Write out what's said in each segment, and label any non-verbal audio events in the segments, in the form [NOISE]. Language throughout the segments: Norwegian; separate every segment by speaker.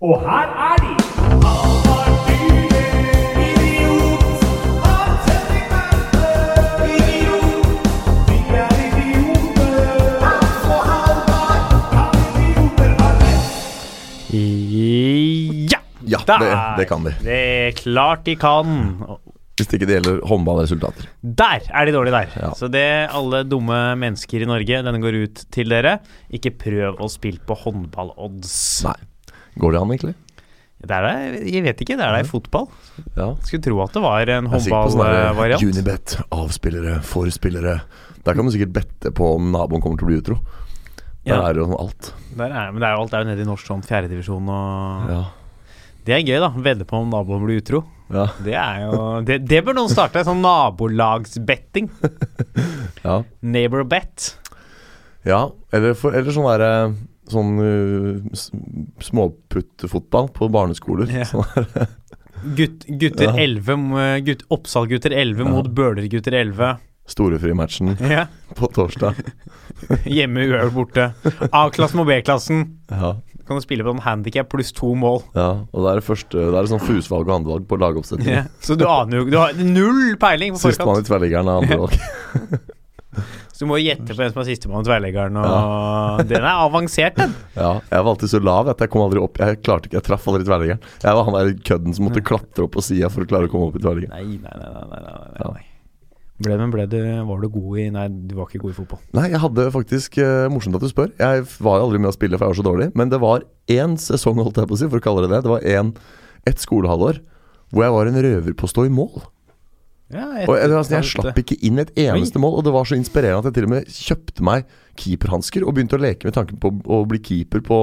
Speaker 1: Og her er de! Ja!
Speaker 2: Ja,
Speaker 1: Der!
Speaker 2: det, det kan de.
Speaker 1: Det er klart de kan.
Speaker 2: Hvis ikke det gjelder håndballresultater.
Speaker 1: Der er de dårlige der.
Speaker 2: Ja.
Speaker 1: Så det alle dumme mennesker i Norge, denne går ut til dere. Ikke prøv å spille på håndballodds.
Speaker 2: Nei. Går det an, egentlig?
Speaker 1: Det er der, jeg vet ikke, det er der i fotball.
Speaker 2: Ja.
Speaker 1: Skulle tro at det var en
Speaker 2: Jeg er sikker på sånn der
Speaker 1: håndballvariant.
Speaker 2: Unibet, avspillere, forspillere. Der kan du sikkert bette på om naboen kommer til å bli utro. Der
Speaker 1: Ja.
Speaker 2: er det jo sånn alt.
Speaker 1: Der er, men det er jo alt er jo nede i norsk sånn fjerdedivisjon og
Speaker 2: Ja.
Speaker 1: Det er gøy, da. Vedde på om naboen blir utro.
Speaker 2: Ja.
Speaker 1: Det er jo Det, det bør noen starte. Sånn nabolagsbetting.
Speaker 2: ja.
Speaker 1: Neighbor bet.
Speaker 2: Eller, for, eller sånn derre Sånn uh, s- småputtfotball på [LAUGHS] barneskoler.
Speaker 1: Ja.
Speaker 2: Sånn der.
Speaker 1: Gutt, gutter
Speaker 2: Ja.
Speaker 1: 11 m- gutt, Oppsal-gutter 11
Speaker 2: Ja.
Speaker 1: mot Bøler-gutter 11.
Speaker 2: Storefrimatchen
Speaker 1: [LAUGHS] Ja.
Speaker 2: på torsdag.
Speaker 1: Hjemme uøvd borte. A-klassen og B-klassen.
Speaker 2: Ja.
Speaker 1: Kan du spille på en handikap pluss to mål.
Speaker 2: ja. Og da er det første Da er det sånn fusvalg og andrevalg på lagoppsetningen.
Speaker 1: Ja. Så du aner jo ikke Du har null peiling på
Speaker 2: Sistemann i
Speaker 1: forkant.
Speaker 2: tverrliggeren er andrevalg.
Speaker 1: Så du må gjette på hvem som er sistemann i tverrleggeren. Og [LAUGHS] den er avansert,
Speaker 2: [LAUGHS]
Speaker 1: den.
Speaker 2: Ja. Jeg var alltid så lav at jeg kom aldri opp. Jeg klarte ikke, jeg traff aldri tverrliggeren. Jeg var han der kødden som måtte klatre opp på sida for å klare å komme opp i tverrliggeren.
Speaker 1: Nei, nei, nei. nei, nei, nei,
Speaker 2: Ja.
Speaker 1: nei, nei. Ble, men ble du, var du god i Nei, du var ikke god i fotball.
Speaker 2: Nei, jeg hadde faktisk eh, Morsomt at du spør. Jeg f- var jo aldri med å spille, for jeg var så dårlig. Men det var én sesong, holdt jeg på å si, for å kalle det det. Det var en, et skolehalvår hvor jeg var en røver på å stå i mål.
Speaker 1: Ja,
Speaker 2: Og jeg, altså, jeg slapp ikke inn et eneste mål, og det var så inspirerende at jeg til og med kjøpte meg keeperhansker og begynte å leke med tanken på å bli keeper på,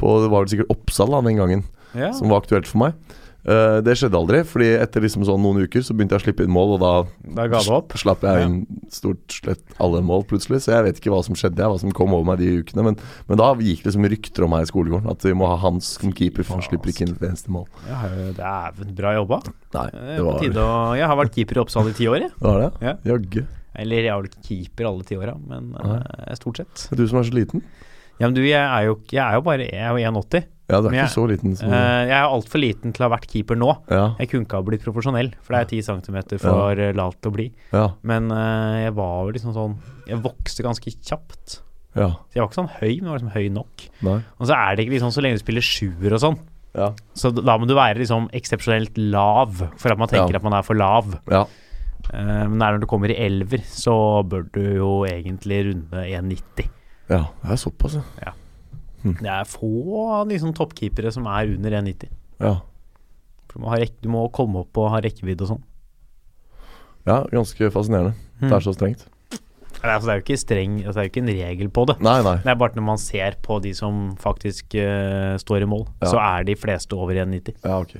Speaker 2: på Det var vel sikkert Oppsal da, den gangen
Speaker 1: Ja.
Speaker 2: som var aktuelt for meg. Eh, det skjedde aldri, fordi etter liksom sånn noen uker så begynte jeg å slippe inn mål, og da
Speaker 1: Da ga du opp.
Speaker 2: Sl- Slapp jeg inn stort sett alle mål plutselig, så jeg vet ikke hva som skjedde, hva som kom over meg de ukene. Men, men da gikk det som rykter om meg i skolegården, at vi må ha Hans som keeper, for han slipper ikke inn et eneste mål.
Speaker 1: Ja, Dæven, bra jobba.
Speaker 2: Nei,
Speaker 1: Eh,
Speaker 2: det
Speaker 1: På
Speaker 2: var,
Speaker 1: tide å Jeg har vært keeper i Oppsal i ti år, jeg.
Speaker 2: var det?
Speaker 1: Ja.
Speaker 2: Jaggu.
Speaker 1: Eller jeg var vel ikke keeper alle ti åra, men eh, stort sett.
Speaker 2: Det er du som er så liten.
Speaker 1: Ja, men du, jeg er jo, jeg er jo bare Jeg er jo 1,80.
Speaker 2: Ja, du er
Speaker 1: Men jeg-
Speaker 2: ikke så liten som
Speaker 1: Eh, jeg er jo altfor liten til å ha vært keeper nå.
Speaker 2: Ja.
Speaker 1: Jeg kunne ikke ha blitt profesjonell, for det er 10 cm for eh, lavt å bli.
Speaker 2: Ja.
Speaker 1: Men eh, jeg var jo liksom sånn Jeg vokste ganske kjapt.
Speaker 2: Ja.
Speaker 1: Så jeg var ikke sånn høy, men jeg var liksom høy nok.
Speaker 2: Nei.
Speaker 1: Og så er det ikke liksom så lenge du spiller sjuer og sånn.
Speaker 2: Ja.
Speaker 1: Så d- da må du være liksom eksepsjonelt lav for at man tenker
Speaker 2: Ja.
Speaker 1: at man er for lav.
Speaker 2: Ja.
Speaker 1: Eh, men det er når du kommer i elver, så bør du jo egentlig runde 1,90.
Speaker 2: ja. Det er såpass, ja.
Speaker 1: Det er få liksom, toppkeepere som er under 1,90.
Speaker 2: ja.
Speaker 1: For Du må, ha rekk, du må komme opp og ha rekkevidde og sånn.
Speaker 2: Ja, ganske fascinerende.
Speaker 1: Hmm.
Speaker 2: Det er så strengt.
Speaker 1: Nei, Altså, det er jo ikke streng, altså, det er jo ikke en regel på det.
Speaker 2: Nei, nei.
Speaker 1: Det er bare at når man ser på de som faktisk eh, står i mål,
Speaker 2: Ja.
Speaker 1: så er de fleste over 1,90.
Speaker 2: Ja, ok.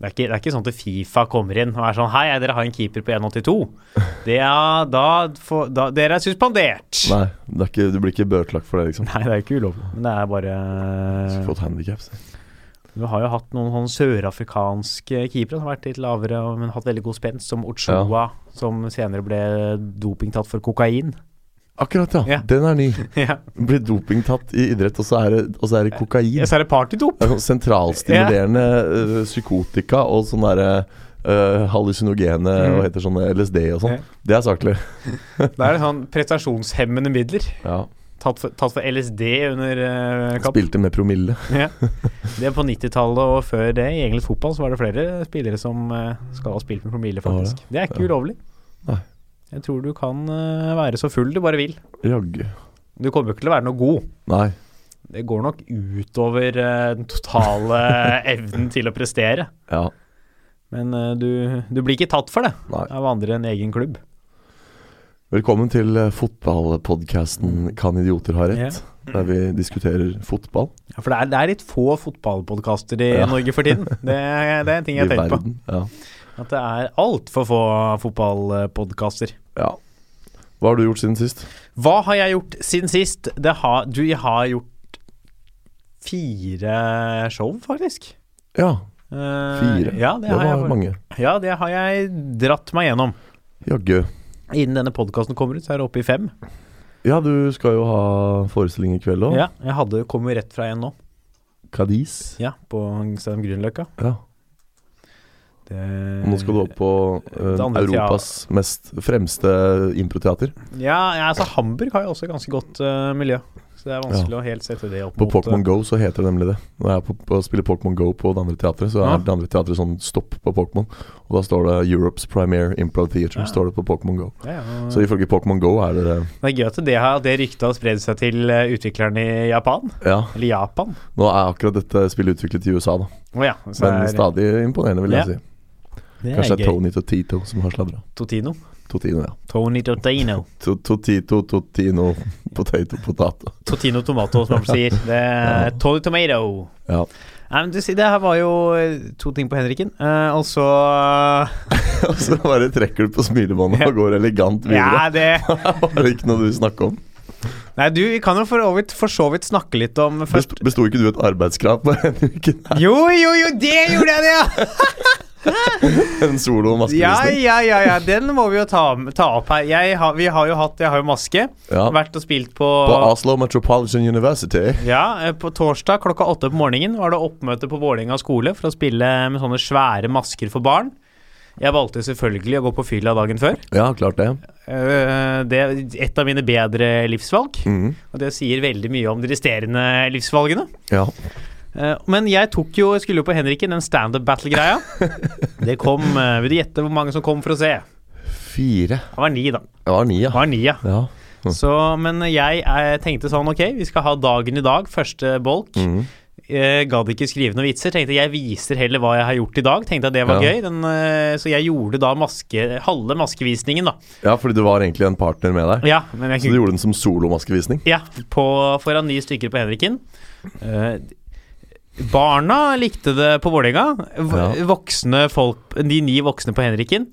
Speaker 1: Det er, ikke, det er ikke sånn at Fifa kommer inn og er sånn Hei, dere har en keeper på 1,82.
Speaker 2: [LAUGHS]
Speaker 1: Det er da, får- da Dere er suspendert! Nei.
Speaker 2: Nei, det er ikke, du blir ikke bøtelagt for det, liksom.
Speaker 1: det er jo ikke ulovlig. Men det er bare
Speaker 2: Skulle fått handicap, så.
Speaker 1: Du har jo hatt noen sånn sørafrikanske keepere som har vært litt lavere, og- men hatt veldig god spenst, som Ochoa, som senere ble dopingtatt for kokain.
Speaker 2: Akkurat, ja.
Speaker 1: Ja.
Speaker 2: Den er ny.
Speaker 1: [LAUGHS] ja.
Speaker 2: Blir dopingtatt i idrett, og så er det, og så er det kokain.
Speaker 1: Så er det partydop!
Speaker 2: Det er sånn Sentralstimulerende øh, psykotika og sånn derre øh, hallusinogene og heter sånn LSD og sånn.
Speaker 1: Mm. Ja.
Speaker 2: Det er saklig.
Speaker 1: Det er sånn prestasjonshemmende midler.
Speaker 2: Ja.
Speaker 1: Tatt for, tatt for LSD under eh, kamp.
Speaker 2: Spilte med promille.
Speaker 1: Ja. Det er på 90-tallet og før det, i engelsk fotball, så var det flere spillere som eh, skal ha spilt med promille,
Speaker 2: Var det?
Speaker 1: faktisk. Det er ikke ulovlig.
Speaker 2: Nei.
Speaker 1: Jeg tror du kan eh, være så full du bare vil.
Speaker 2: Jaggu.
Speaker 1: Du kommer jo ikke til å være noe god.
Speaker 2: Nei.
Speaker 1: Det går nok utover eh, den totale [LAUGHS] evnen til å prestere.
Speaker 2: Ja.
Speaker 1: Men eh, du, du blir ikke tatt for det
Speaker 2: Nei.
Speaker 1: av andre enn egen klubb.
Speaker 2: Velkommen til øh, fotballpodkasten 'Kan idioter ha rett', der vi diskuterer fotball
Speaker 1: Ja, For det er, det er litt få fotballpodkaster i
Speaker 2: Ja.
Speaker 1: Norge for tiden. Det, er- det er en ting
Speaker 2: i
Speaker 1: jeg [LAUGHS] har tenkt på.
Speaker 2: verden. Ja.
Speaker 1: At det er altfor få fotballpodkaster.
Speaker 2: ja. Hva har du gjort siden sist?
Speaker 1: Hva har jeg gjort siden sist? Det har, du, jeg har gjort fire show, faktisk.
Speaker 2: Ja,
Speaker 1: Eh,
Speaker 2: fire.
Speaker 1: Ja, det,
Speaker 2: det
Speaker 1: har jeg,
Speaker 2: var mange.
Speaker 1: ja, det har jeg dratt meg gjennom.
Speaker 2: Jaggu.
Speaker 1: Innen denne podkasten kommer ut, så er det oppe i fem.
Speaker 2: Ja, du skal jo ha forestilling i kveld òg.
Speaker 1: Ja, jeg hadde, kom jo rett fra en nå.
Speaker 2: Cadiz.
Speaker 1: Ja, på Stadion Grünerløkka.
Speaker 2: Ja. Og nå skal du opp på eh,
Speaker 1: Det andre
Speaker 2: Europas mest fremste improteater.
Speaker 1: Ja, ja, altså Hamburg har jo også ganske godt eh, miljø. Så det er vanskelig å helt sette det opp
Speaker 2: På
Speaker 1: mot eh,
Speaker 2: Pokémon Go så heter det nemlig det. Når jeg er på, på, spiller Pokémon Go på det andre teatret, så er
Speaker 1: Ja.
Speaker 2: det andre teatret sånn stopp på Pokémon. Og da står det Europe's Premier Impro Theatre,
Speaker 1: Ja.
Speaker 2: står det på Pokémon Go.
Speaker 1: Ja, ja.
Speaker 2: Så ifølge Pokémon Go er det
Speaker 1: Det er gøy at det, har- det ryktet har spredd seg til eh, utviklerne i Japan.
Speaker 2: Ja.
Speaker 1: Eller Japan.
Speaker 2: Nå er akkurat dette spillet utviklet i USA, da.
Speaker 1: Å ja. Så
Speaker 2: Men
Speaker 1: er-
Speaker 2: stadig imponerende, vil jeg
Speaker 1: Ja.
Speaker 2: si.
Speaker 1: det
Speaker 2: Kanskje
Speaker 1: gøy.
Speaker 2: det er Tony Totito som har sladra.
Speaker 1: Totino.
Speaker 2: Totino, ja.
Speaker 1: Tony Totino.
Speaker 2: To- Totito, Totino, potato, potato. [LAUGHS]
Speaker 1: Totino Tomato, [LAUGHS] som han sier. Det er Tony Tomato.
Speaker 2: Ja.
Speaker 1: Nei, men du, sier, det her var jo eh, to ting på Henriken. Eh, og så
Speaker 2: Og så bare trekker du på smilebåndet og går elegant videre. [LAUGHS]
Speaker 1: Ja, det
Speaker 2: Var det ikke noe du snakka om?
Speaker 1: Nei, du, vi kan jo for, over- for så vidt snakke litt om først
Speaker 2: Best- Besto ikke du et arbeidskrav på en uke? [LAUGHS]
Speaker 1: Jo, jo, jo, det gjorde jeg, det! ja!
Speaker 2: En solo- og
Speaker 1: Ja,
Speaker 2: maskevisning?
Speaker 1: ja, ja, ja, den må vi jo ta, ta opp her. Jeg har, vi har jo hatt Jeg har jo maske.
Speaker 2: Ja.
Speaker 1: Vært og spilt på,
Speaker 2: På Oslo Metropolitan University.
Speaker 1: ja, eh, på torsdag klokka åtte på morgenen var det oppmøte på Vålerenga skole for å spille med sånne svære masker for barn. Jeg valgte selvfølgelig å gå på fylla dagen før.
Speaker 2: Ja, klart det.
Speaker 1: Eh, Det er et av mine bedre livsvalg,
Speaker 2: Mhm.
Speaker 1: og det sier veldig mye om de resterende livsvalgene.
Speaker 2: Ja.
Speaker 1: Eh, Men jeg tok jo, jeg skulle jo på Henriken, den standup battle-greia. Det kom eh, Vil du gjette hvor mange som kom for å se?
Speaker 2: Fire.
Speaker 1: Det var ni, da.
Speaker 2: Det var ni, ja.
Speaker 1: Det var ni, ja.
Speaker 2: ja.
Speaker 1: Så, men jeg eh, tenkte sånn, ok, vi skal ha dagen i dag, første bolk.
Speaker 2: Mhm.
Speaker 1: Eh, gadd ikke skrive noen vitser. Tenkte jeg viser heller hva jeg har gjort i dag. Tenkte at det var
Speaker 2: Ja.
Speaker 1: gøy. Den, eh, så jeg gjorde da maske, halve maskevisningen, da.
Speaker 2: ja, fordi du var egentlig en partner med der.
Speaker 1: Ja, men jeg
Speaker 2: Så du gjorde den som solomaskevisning?
Speaker 1: ja, på, foran ni stykker på Henriken. Eh, barna likte det på Vålerenga. V-
Speaker 2: Ja.
Speaker 1: Voksne folk, de ni voksne på Henriken,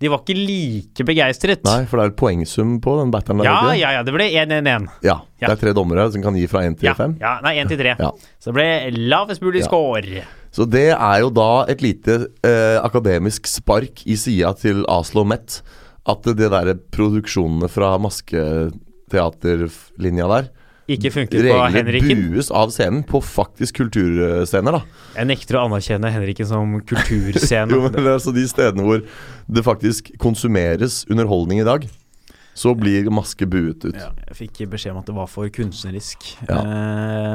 Speaker 1: de var ikke like begeistret.
Speaker 2: Nei, for det er et poengsum på den batteren. der,
Speaker 1: Ja,
Speaker 2: ikke det?
Speaker 1: ja, ja, det ble 1-1-1.
Speaker 2: ja.
Speaker 1: Ja.
Speaker 2: Det er tre dommere som kan gi fra én til
Speaker 1: Ja,
Speaker 2: fem.
Speaker 1: ja, nei, 1-3.
Speaker 2: Ja.
Speaker 1: Så det ble lavest mulig
Speaker 2: Ja.
Speaker 1: score.
Speaker 2: Så det er jo da et lite eh, akademisk spark i sida til Aslo Met. At det derre produksjonene fra masketeaterlinja der
Speaker 1: Ikke funket på
Speaker 2: reglene
Speaker 1: Henriken.
Speaker 2: bues av scenen på faktisk kulturscener, da.
Speaker 1: Jeg nekter å anerkjenne Henriken som
Speaker 2: [LAUGHS] Jo,
Speaker 1: kulturscene.
Speaker 2: men altså De stedene hvor det faktisk konsumeres underholdning i dag, så blir maske buet ut.
Speaker 1: Ja, jeg fikk beskjed om at det var for kunstnerisk.
Speaker 2: Ja.
Speaker 1: Eh,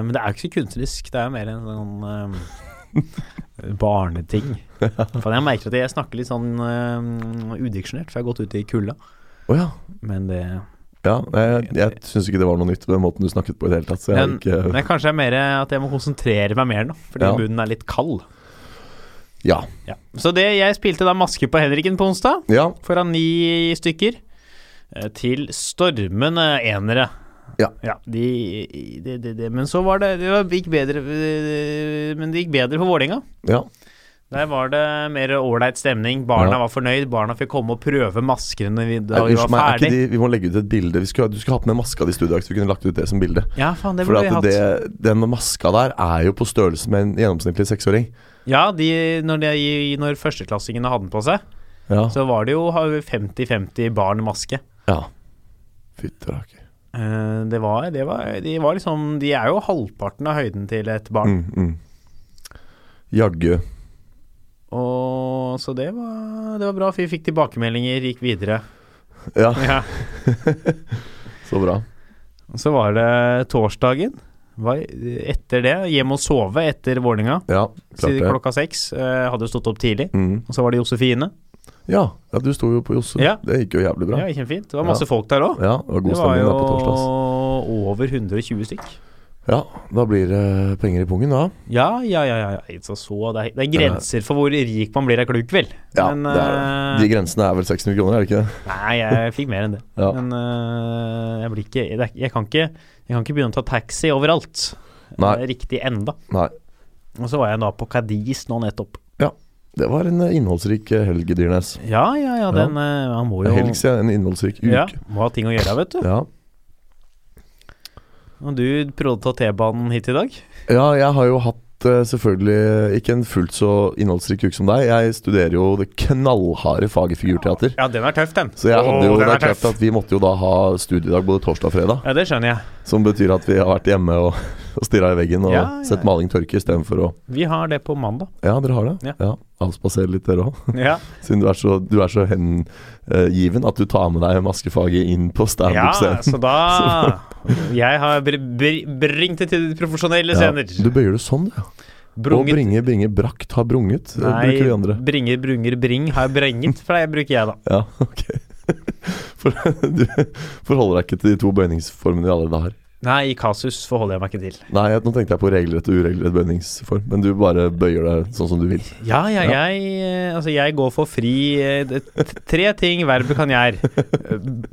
Speaker 1: men det er jo ikke så kunstnerisk, det er jo mer en sånn eh,
Speaker 2: [LAUGHS]
Speaker 1: barneting. For jeg merker at jeg snakker litt sånn eh, udiksjonert, for jeg har gått ut i kulda.
Speaker 2: Å ja.
Speaker 1: Men det
Speaker 2: ja. Jeg, jeg syns ikke det var noe nytt ved den måten du snakket på i det hele tatt. Så jeg har
Speaker 1: men,
Speaker 2: ikke
Speaker 1: men kanskje det er mer at jeg må konsentrere meg mer nå, fordi
Speaker 2: Ja.
Speaker 1: munnen er litt kald.
Speaker 2: Ja.
Speaker 1: Ja. Så det, jeg spilte da maske på Henriken på onsdag.
Speaker 2: Ja,
Speaker 1: foran ni stykker eh, til stormende enere.
Speaker 2: Ja.
Speaker 1: de, de, de, de. Men så var det Det var- gikk bedre eh, Men det gikk bedre for Vålerenga.
Speaker 2: ja.
Speaker 1: Der var det mer ålreit stemning. Barna
Speaker 2: Ja.
Speaker 1: var fornøyd. Barna fikk komme og prøve maskene vi, da
Speaker 2: Nei,
Speaker 1: vi
Speaker 2: Unnskyld
Speaker 1: var
Speaker 2: meg, er ikke
Speaker 1: ferdig.
Speaker 2: de, vi må legge ut et bilde. Vi skulle, ha- du skulle hatt med maska di i studiodag, så vi kunne lagt ut det som bilde.
Speaker 1: Ja, faen, det
Speaker 2: For
Speaker 1: burde vi
Speaker 2: at
Speaker 1: hatt.
Speaker 2: det, den maska der er jo på størrelse med en gjennomsnittlig seksåring.
Speaker 1: Ja, de, når, de, når førsteklassingene hadde den på seg,
Speaker 2: Ja.
Speaker 1: så var det jo 50-50 barn maske.
Speaker 2: ja. Fytti rakker.
Speaker 1: Eh, Det var, det var, de var liksom De er jo halvparten av høyden til et barn.
Speaker 2: Mm, mm. Jaggu.
Speaker 1: Og så det var, det var bra. for Vi fikk tilbakemeldinger, gikk videre.
Speaker 2: [LAUGHS] Ja,
Speaker 1: Ja.
Speaker 2: så bra.
Speaker 1: Og så var det torsdagen. Var etter det hjem og sove etter Vålerenga.
Speaker 2: Ja, klart
Speaker 1: Siden
Speaker 2: det.
Speaker 1: klokka seks. eh, hadde jo stått opp tidlig.
Speaker 2: Mm.
Speaker 1: Og så var det Josefine.
Speaker 2: Ja, ja, du sto jo på Josse.
Speaker 1: Ja.
Speaker 2: Det gikk jo jævlig bra.
Speaker 1: Ja, kjempefint. Det var masse folk der òg.
Speaker 2: Ja, det var
Speaker 1: Det
Speaker 2: god
Speaker 1: var
Speaker 2: stemning
Speaker 1: jo
Speaker 2: der på torsdag. ass.
Speaker 1: over 120 stykk.
Speaker 2: Ja, da blir det penger i pungen, da.
Speaker 1: Ja, ja, ja. ja. ja. Så, så, det, er, det er grenser for hvor rik man blir av kluk, vel.
Speaker 2: Ja,
Speaker 1: Men,
Speaker 2: det er,
Speaker 1: eh,
Speaker 2: De grensene er vel 600 kroner, er det ikke det?
Speaker 1: Nei, jeg fikk mer enn det.
Speaker 2: Ja.
Speaker 1: Men øh, jeg, blir ikke, det er ikke- jeg, kan ikke, jeg kan ikke begynne å ta taxi overalt. Det
Speaker 2: Nei.
Speaker 1: er Riktig enda.
Speaker 2: Nei.
Speaker 1: Og så var jeg da på Cadiz nå nettopp.
Speaker 2: Det var en eh, innholdsrik eh, helg, Dyrnes.
Speaker 1: Ja, ja, ja. Den, øh, han må jo
Speaker 2: Helg, sier jeg. En innholdsrik uke.
Speaker 1: ja, må ha ting å gjøre, vet du.
Speaker 2: Ja.
Speaker 1: Og du prøvde å ta T-banen hit i dag.
Speaker 2: ja, jeg har jo hatt eh, selvfølgelig ikke en fullt så innholdsrik uke som deg. Jeg studerer jo det knallharde faget figurteater.
Speaker 1: Ja, den er tøff, den.
Speaker 2: Så jeg hadde
Speaker 1: Åh,
Speaker 2: jo,
Speaker 1: den
Speaker 2: det
Speaker 1: er
Speaker 2: er klart
Speaker 1: tøff.
Speaker 2: at vi måtte jo da ha studiedag både torsdag og fredag.
Speaker 1: Ja, det skjønner jeg.
Speaker 2: Som betyr at vi har vært hjemme og, og stirra i veggen og
Speaker 1: Ja, ja.
Speaker 2: sett maling tørke istedenfor å
Speaker 1: Vi har det på mandag.
Speaker 2: Ja, dere har det?
Speaker 1: Ja.
Speaker 2: Avspasere litt, dere òg.
Speaker 1: Ja,
Speaker 2: [LAUGHS] Siden du er så, du er så hengiven at du tar med deg maskefaget inn på
Speaker 1: ja
Speaker 2: standup-scenen.
Speaker 1: så
Speaker 2: [LAUGHS]
Speaker 1: da Jeg har br br bringt det til de profesjonelle
Speaker 2: Ja,
Speaker 1: scener.
Speaker 2: du bøyer det sånn, du. Og
Speaker 1: Brunget
Speaker 2: bringe, bringe, brakt har brunget, eh,
Speaker 1: Nei,
Speaker 2: bruker de andre.
Speaker 1: bringer, brunger, bring har jeg brenget, for det bruker jeg, da.
Speaker 2: Ja, [LAUGHS] ok. For, du forholder deg ikke til de to bøyningsformene vi allerede har.
Speaker 1: Nei, i kasus forholder jeg meg ikke til.
Speaker 2: Nei, jeg, nå tenkte jeg på regelrett og uregelrett bøyningsform, men du bare bøyer deg sånn som du vil.
Speaker 1: Ja, ja, jeg eh, Altså, jeg går for fri eh, det- t- Tre ting verbet kan gjøre.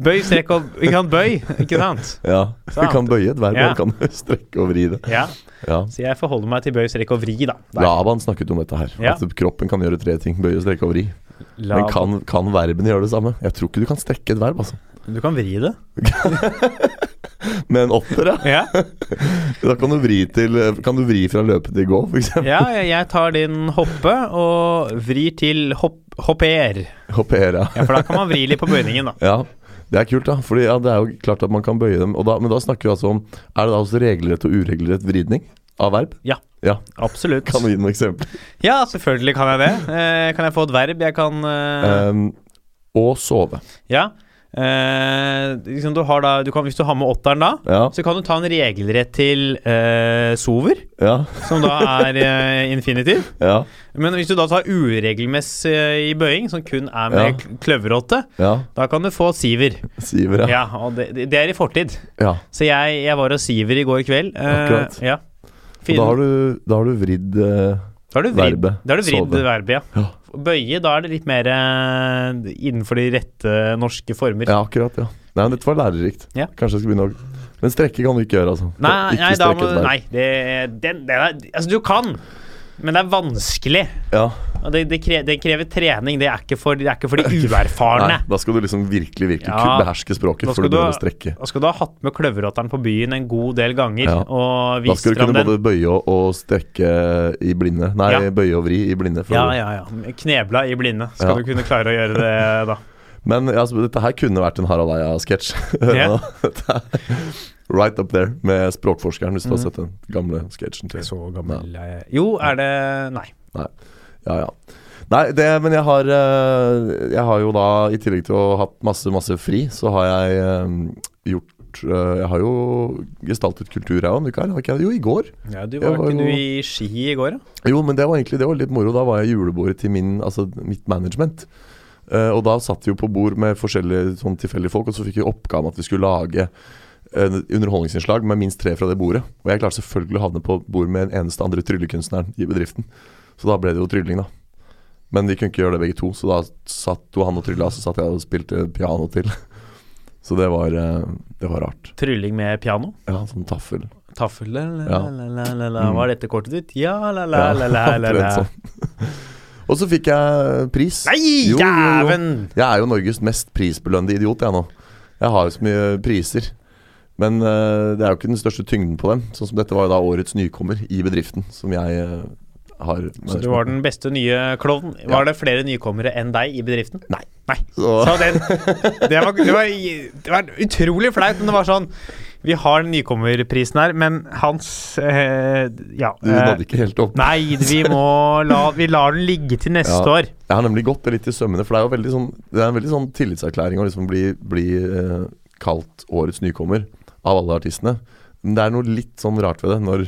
Speaker 1: Bøy, strekk og Ikke sant, bøy, ikke sant?
Speaker 2: Ja, du
Speaker 1: Sant.
Speaker 2: kan bøye et verb,
Speaker 1: Ja.
Speaker 2: du kan [LAUGHS] strekke og vri det.
Speaker 1: Ja,
Speaker 2: Ja.
Speaker 1: så jeg forholder meg til bøy, strekk og vri, da. Der.
Speaker 2: Laban snakket om dette her.
Speaker 1: Ja.
Speaker 2: At kroppen kan gjøre tre ting. Bøye, strekke og vri.
Speaker 1: La-
Speaker 2: Men kan, kan verbene gjøre det samme? Jeg tror ikke du kan strekke et verb, altså.
Speaker 1: Du kan vri det.
Speaker 2: Men åtter, ja.
Speaker 1: Ja,
Speaker 2: Da kan du vri, til, kan du vri fra løpe til gå, f.eks.
Speaker 1: ja jeg- jeg tar din hoppe og vrir til hopp, hopper.
Speaker 2: Hoppere.
Speaker 1: Ja, for da kan man vri litt på bøyningen, da.
Speaker 2: Ja. Det er kult, da. Fordi ja, det er jo klart at man kan bøye dem. Og da, men da snakker vi altså om Er det da også regelrett og uregelrett vridning av verb?
Speaker 1: Ja.
Speaker 2: Ja.
Speaker 1: Absolutt.
Speaker 2: Kan du gi noen eksempler?
Speaker 1: Ja, selvfølgelig kan jeg det. Eh, kan jeg få et verb jeg kan eh,
Speaker 2: Um, og sove.
Speaker 1: Ja. Eh, liksom du har da, du kan, hvis du har med åtteren da,
Speaker 2: Ja.
Speaker 1: så kan du ta en regelrett til eh, sover,
Speaker 2: Ja.
Speaker 1: som da er eh, infinitiv.
Speaker 2: Ja.
Speaker 1: Men hvis du da tar uregelmessig eh, i bøying, som kun er med
Speaker 2: Ja.
Speaker 1: kl- kløverrotte,
Speaker 2: ja.
Speaker 1: da kan du få siver.
Speaker 2: Siver,
Speaker 1: Ja,
Speaker 2: ja.
Speaker 1: og det, det er i fortid.
Speaker 2: ja.
Speaker 1: Så jeg, jeg var hos siver i går kveld. Eh,
Speaker 2: Akkurat.
Speaker 1: Ja.
Speaker 2: Og
Speaker 1: Fin.
Speaker 2: da har du, da har du vridd eh,
Speaker 1: Da har du vridd
Speaker 2: verbet.
Speaker 1: Da har du vridd
Speaker 2: Sove.
Speaker 1: verbet, ja.
Speaker 2: Ja.
Speaker 1: Bøye, da er det litt mer eh, innenfor de rette norske former.
Speaker 2: Ja, akkurat, ja. Nei, men dette var lærerikt.
Speaker 1: Ja.
Speaker 2: Kanskje jeg skal begynne å Men strekke kan du ikke gjøre, altså.
Speaker 1: Nei,
Speaker 2: ikke
Speaker 1: nei, da
Speaker 2: strekke
Speaker 1: må,
Speaker 2: et verb.
Speaker 1: nei det, den, den er, altså du kan, men det er vanskelig.
Speaker 2: Ja.
Speaker 1: Og det, det, kre, det krever trening. Det er ikke for, det er ikke
Speaker 2: [LAUGHS]
Speaker 1: for de uerfarne.
Speaker 2: Nei, da skal du liksom virkelig, virkelig
Speaker 1: Ja.
Speaker 2: ku- beherske språket
Speaker 1: Da
Speaker 2: for
Speaker 1: skal
Speaker 2: å
Speaker 1: du
Speaker 2: begynne
Speaker 1: ha-
Speaker 2: å strekke.
Speaker 1: Da skal du ha hatt med kløverrotteren på byen en god del ganger
Speaker 2: Ja.
Speaker 1: og
Speaker 2: Da
Speaker 1: vist
Speaker 2: skal du
Speaker 1: fram
Speaker 2: kunne
Speaker 1: den.
Speaker 2: både bøye og, og strekke i blinde. Nei,
Speaker 1: Ja.
Speaker 2: bøye og vri i blinde. for
Speaker 1: Ja,
Speaker 2: å-
Speaker 1: ja, ja. Knebla i blinde. Skal
Speaker 2: Ja.
Speaker 1: du kunne klare å gjøre det
Speaker 2: [LAUGHS]
Speaker 1: da?
Speaker 2: Men ja, altså, dette her kunne vært en Harald Eia-sketsj. [LAUGHS] Hør
Speaker 1: Ja.
Speaker 2: nå. Dette er Right up there med Språkforskeren, hvis du har sett den gamle sketsjen. til-
Speaker 1: Mm. Så gammel Jo, er det Nei.
Speaker 2: Ja, ja. Nei, det, men jeg har eh, Jeg har jo da, i tillegg til å ha hatt masse, masse fri, så har jeg eh, gjort eh, Jeg har jo gestaltet kultur, jeg òg, Mikael. Har ikke jeg det? Jo, i går.
Speaker 1: Ja, du
Speaker 2: Jeg
Speaker 1: var
Speaker 2: var
Speaker 1: ikke
Speaker 2: jo-
Speaker 1: du i Ski i går, da?
Speaker 2: Jo, men det var egentlig det var litt moro. Da var jeg i julebordet til min, altså, mitt management. Eh, og da satt vi jo på bord med forskjellige sånn tilfeldige folk, og så fikk vi oppgaven at vi skulle lage eh, underholdningsinnslag med minst tre fra det bordet. Og jeg klarte selvfølgelig å havne på bord med den eneste andre tryllekunstneren i bedriften. Så da ble det jo trylling, da. Men vi kunne ikke gjøre det begge to, så da satt jo han og trylla, så satt jeg og spilte piano til. [LAUGHS] Så det var, eh, det var rart.
Speaker 1: Trylling med piano?
Speaker 2: Ja, sånn taffel.
Speaker 1: Taffel la, la,
Speaker 2: Ja.
Speaker 1: la, la, la, la.
Speaker 2: Mm.
Speaker 1: Var dette kortet ditt? Ja, la, la,
Speaker 2: Ja,
Speaker 1: la, la, la, la.
Speaker 2: omtrent sånn. [LAUGHS] Og så fikk jeg pris.
Speaker 1: Nei,
Speaker 2: Jo, jo, jo.
Speaker 1: dæven!
Speaker 2: Jeg er jo Norges mest prisbelønnede idiot, jeg nå. Jeg har jo så mye priser. Men eh, det er jo ikke den største tyngden på dem. Sånn som dette var jo da årets nykommer i bedriften, som jeg eh, har
Speaker 1: Så du var den beste nye klovn. Var det flere nykommere enn deg i bedriften? Nei. Nei.
Speaker 2: Så-
Speaker 1: Så den, det, var, det, var, det var utrolig flaut, men det var sånn Vi har den nykommerprisen her, men hans eh, Ja.
Speaker 2: Du
Speaker 1: eh,
Speaker 2: nådde ikke helt opp.
Speaker 1: nei, vi må la Vi lar den ligge til neste
Speaker 2: Ja.
Speaker 1: år.
Speaker 2: Jeg har nemlig gått det litt i sømmene, for det er jo veldig sånn, det er en veldig sånn tillitserklæring å liksom bli, bli eh, kalt årets nykommer av alle artistene. Men det er noe litt sånn rart ved det, når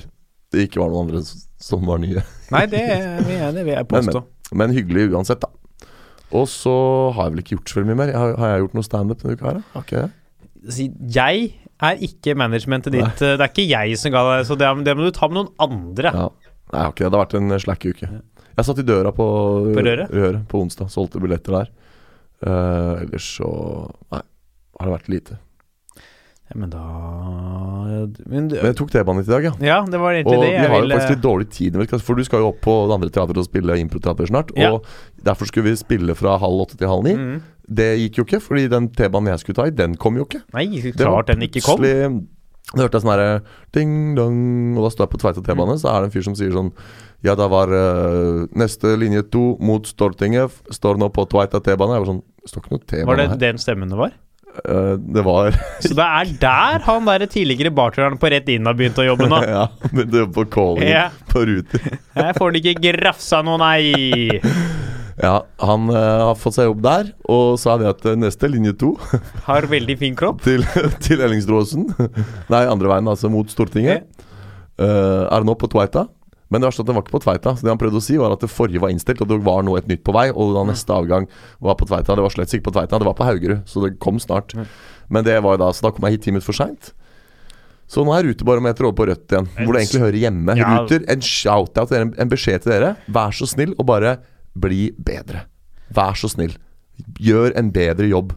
Speaker 2: det ikke var noen andre s- som var nye.
Speaker 1: Nei, det, er- vi er- det vil jeg
Speaker 2: Men,
Speaker 1: påstå.
Speaker 2: Men hyggelig uansett, da. Og så har jeg vel ikke gjort så veldig mye mer. Jeg Har, har jeg gjort noe standup denne uka her, da? Har ikke jeg det?
Speaker 1: Si, Jeg er ikke managementet ditt. eh, Det er ikke jeg som ga deg Så det, er- det må du ta med noen andre.
Speaker 2: Ja. Nei, jeg har ikke det. Det har vært en slack-uke. Jeg satt i døra på,
Speaker 1: På Røret?
Speaker 2: på onsdag. Solgte billetter der. Eh, ellers så Nei, har det vært lite.
Speaker 1: Ja, men da men, du-
Speaker 2: Men jeg tok T-banen hit i dag, ja.
Speaker 1: Ja, det var egentlig
Speaker 2: Og
Speaker 1: det
Speaker 2: vi
Speaker 1: jeg eh,
Speaker 2: har jo
Speaker 1: ville
Speaker 2: faktisk litt dårlig tid, vet du, for du skal jo opp på det andre teatret og spille improteater snart.
Speaker 1: Ja.
Speaker 2: Og derfor skulle vi spille fra halv åtte til halv ni.
Speaker 1: Mm.
Speaker 2: Det gikk jo ikke, fordi den T-banen jeg skulle ta i, den kom jo ikke.
Speaker 1: Nei,
Speaker 2: Det var
Speaker 1: klart den ikke kom.
Speaker 2: plutselig- Da hørte jeg sånn herre ding-dong, og da står jeg på Tveita T-bane, så er det en fyr som sier sånn Ja, da var eh, neste linje to mot Stortinget, f- står nå på Tveita T-bane. Jeg var sånn Det står ikke noe
Speaker 1: Var
Speaker 2: T-bane
Speaker 1: det
Speaker 2: her.
Speaker 1: den stemmen det var?
Speaker 2: Eh, det var
Speaker 1: Så det er der han der tidligere bartenderen på Rett Inn har begynt å jobbe nå.
Speaker 2: [LAUGHS] Ja, begynte å jobbe på calling
Speaker 1: Ah. Ja.
Speaker 2: på Ruter.
Speaker 1: Her får han ikke grafsa noe, nei!
Speaker 2: Ja, han eh, har fått seg jobb der, og sa det at eh, neste linje to
Speaker 1: Har veldig fin kropp.
Speaker 2: til, [LAUGHS] til Ellingsdråsen. Nei, andre veien, altså mot Stortinget. Eh, er nå på Tveita. Men det verste er at den var ikke på Tveita. Så det han prøvde å si, var at det forrige var innstilt, og det var nå et nytt på vei. Og da neste avgang var på Tveita. Det var slett ikke på Tveita, det var på Haugerud. Så det kom snart. Men det var jo da, så da kom jeg hit ti minutter for seint. Så nå er rutebarometeret over på rødt igjen, hvor det egentlig hører hjemme.
Speaker 1: Ja.
Speaker 2: Ruter, en shout-out, til dere, en beskjed til dere. Vær så snill, og bare bli bedre. Vær så snill. Gjør en bedre jobb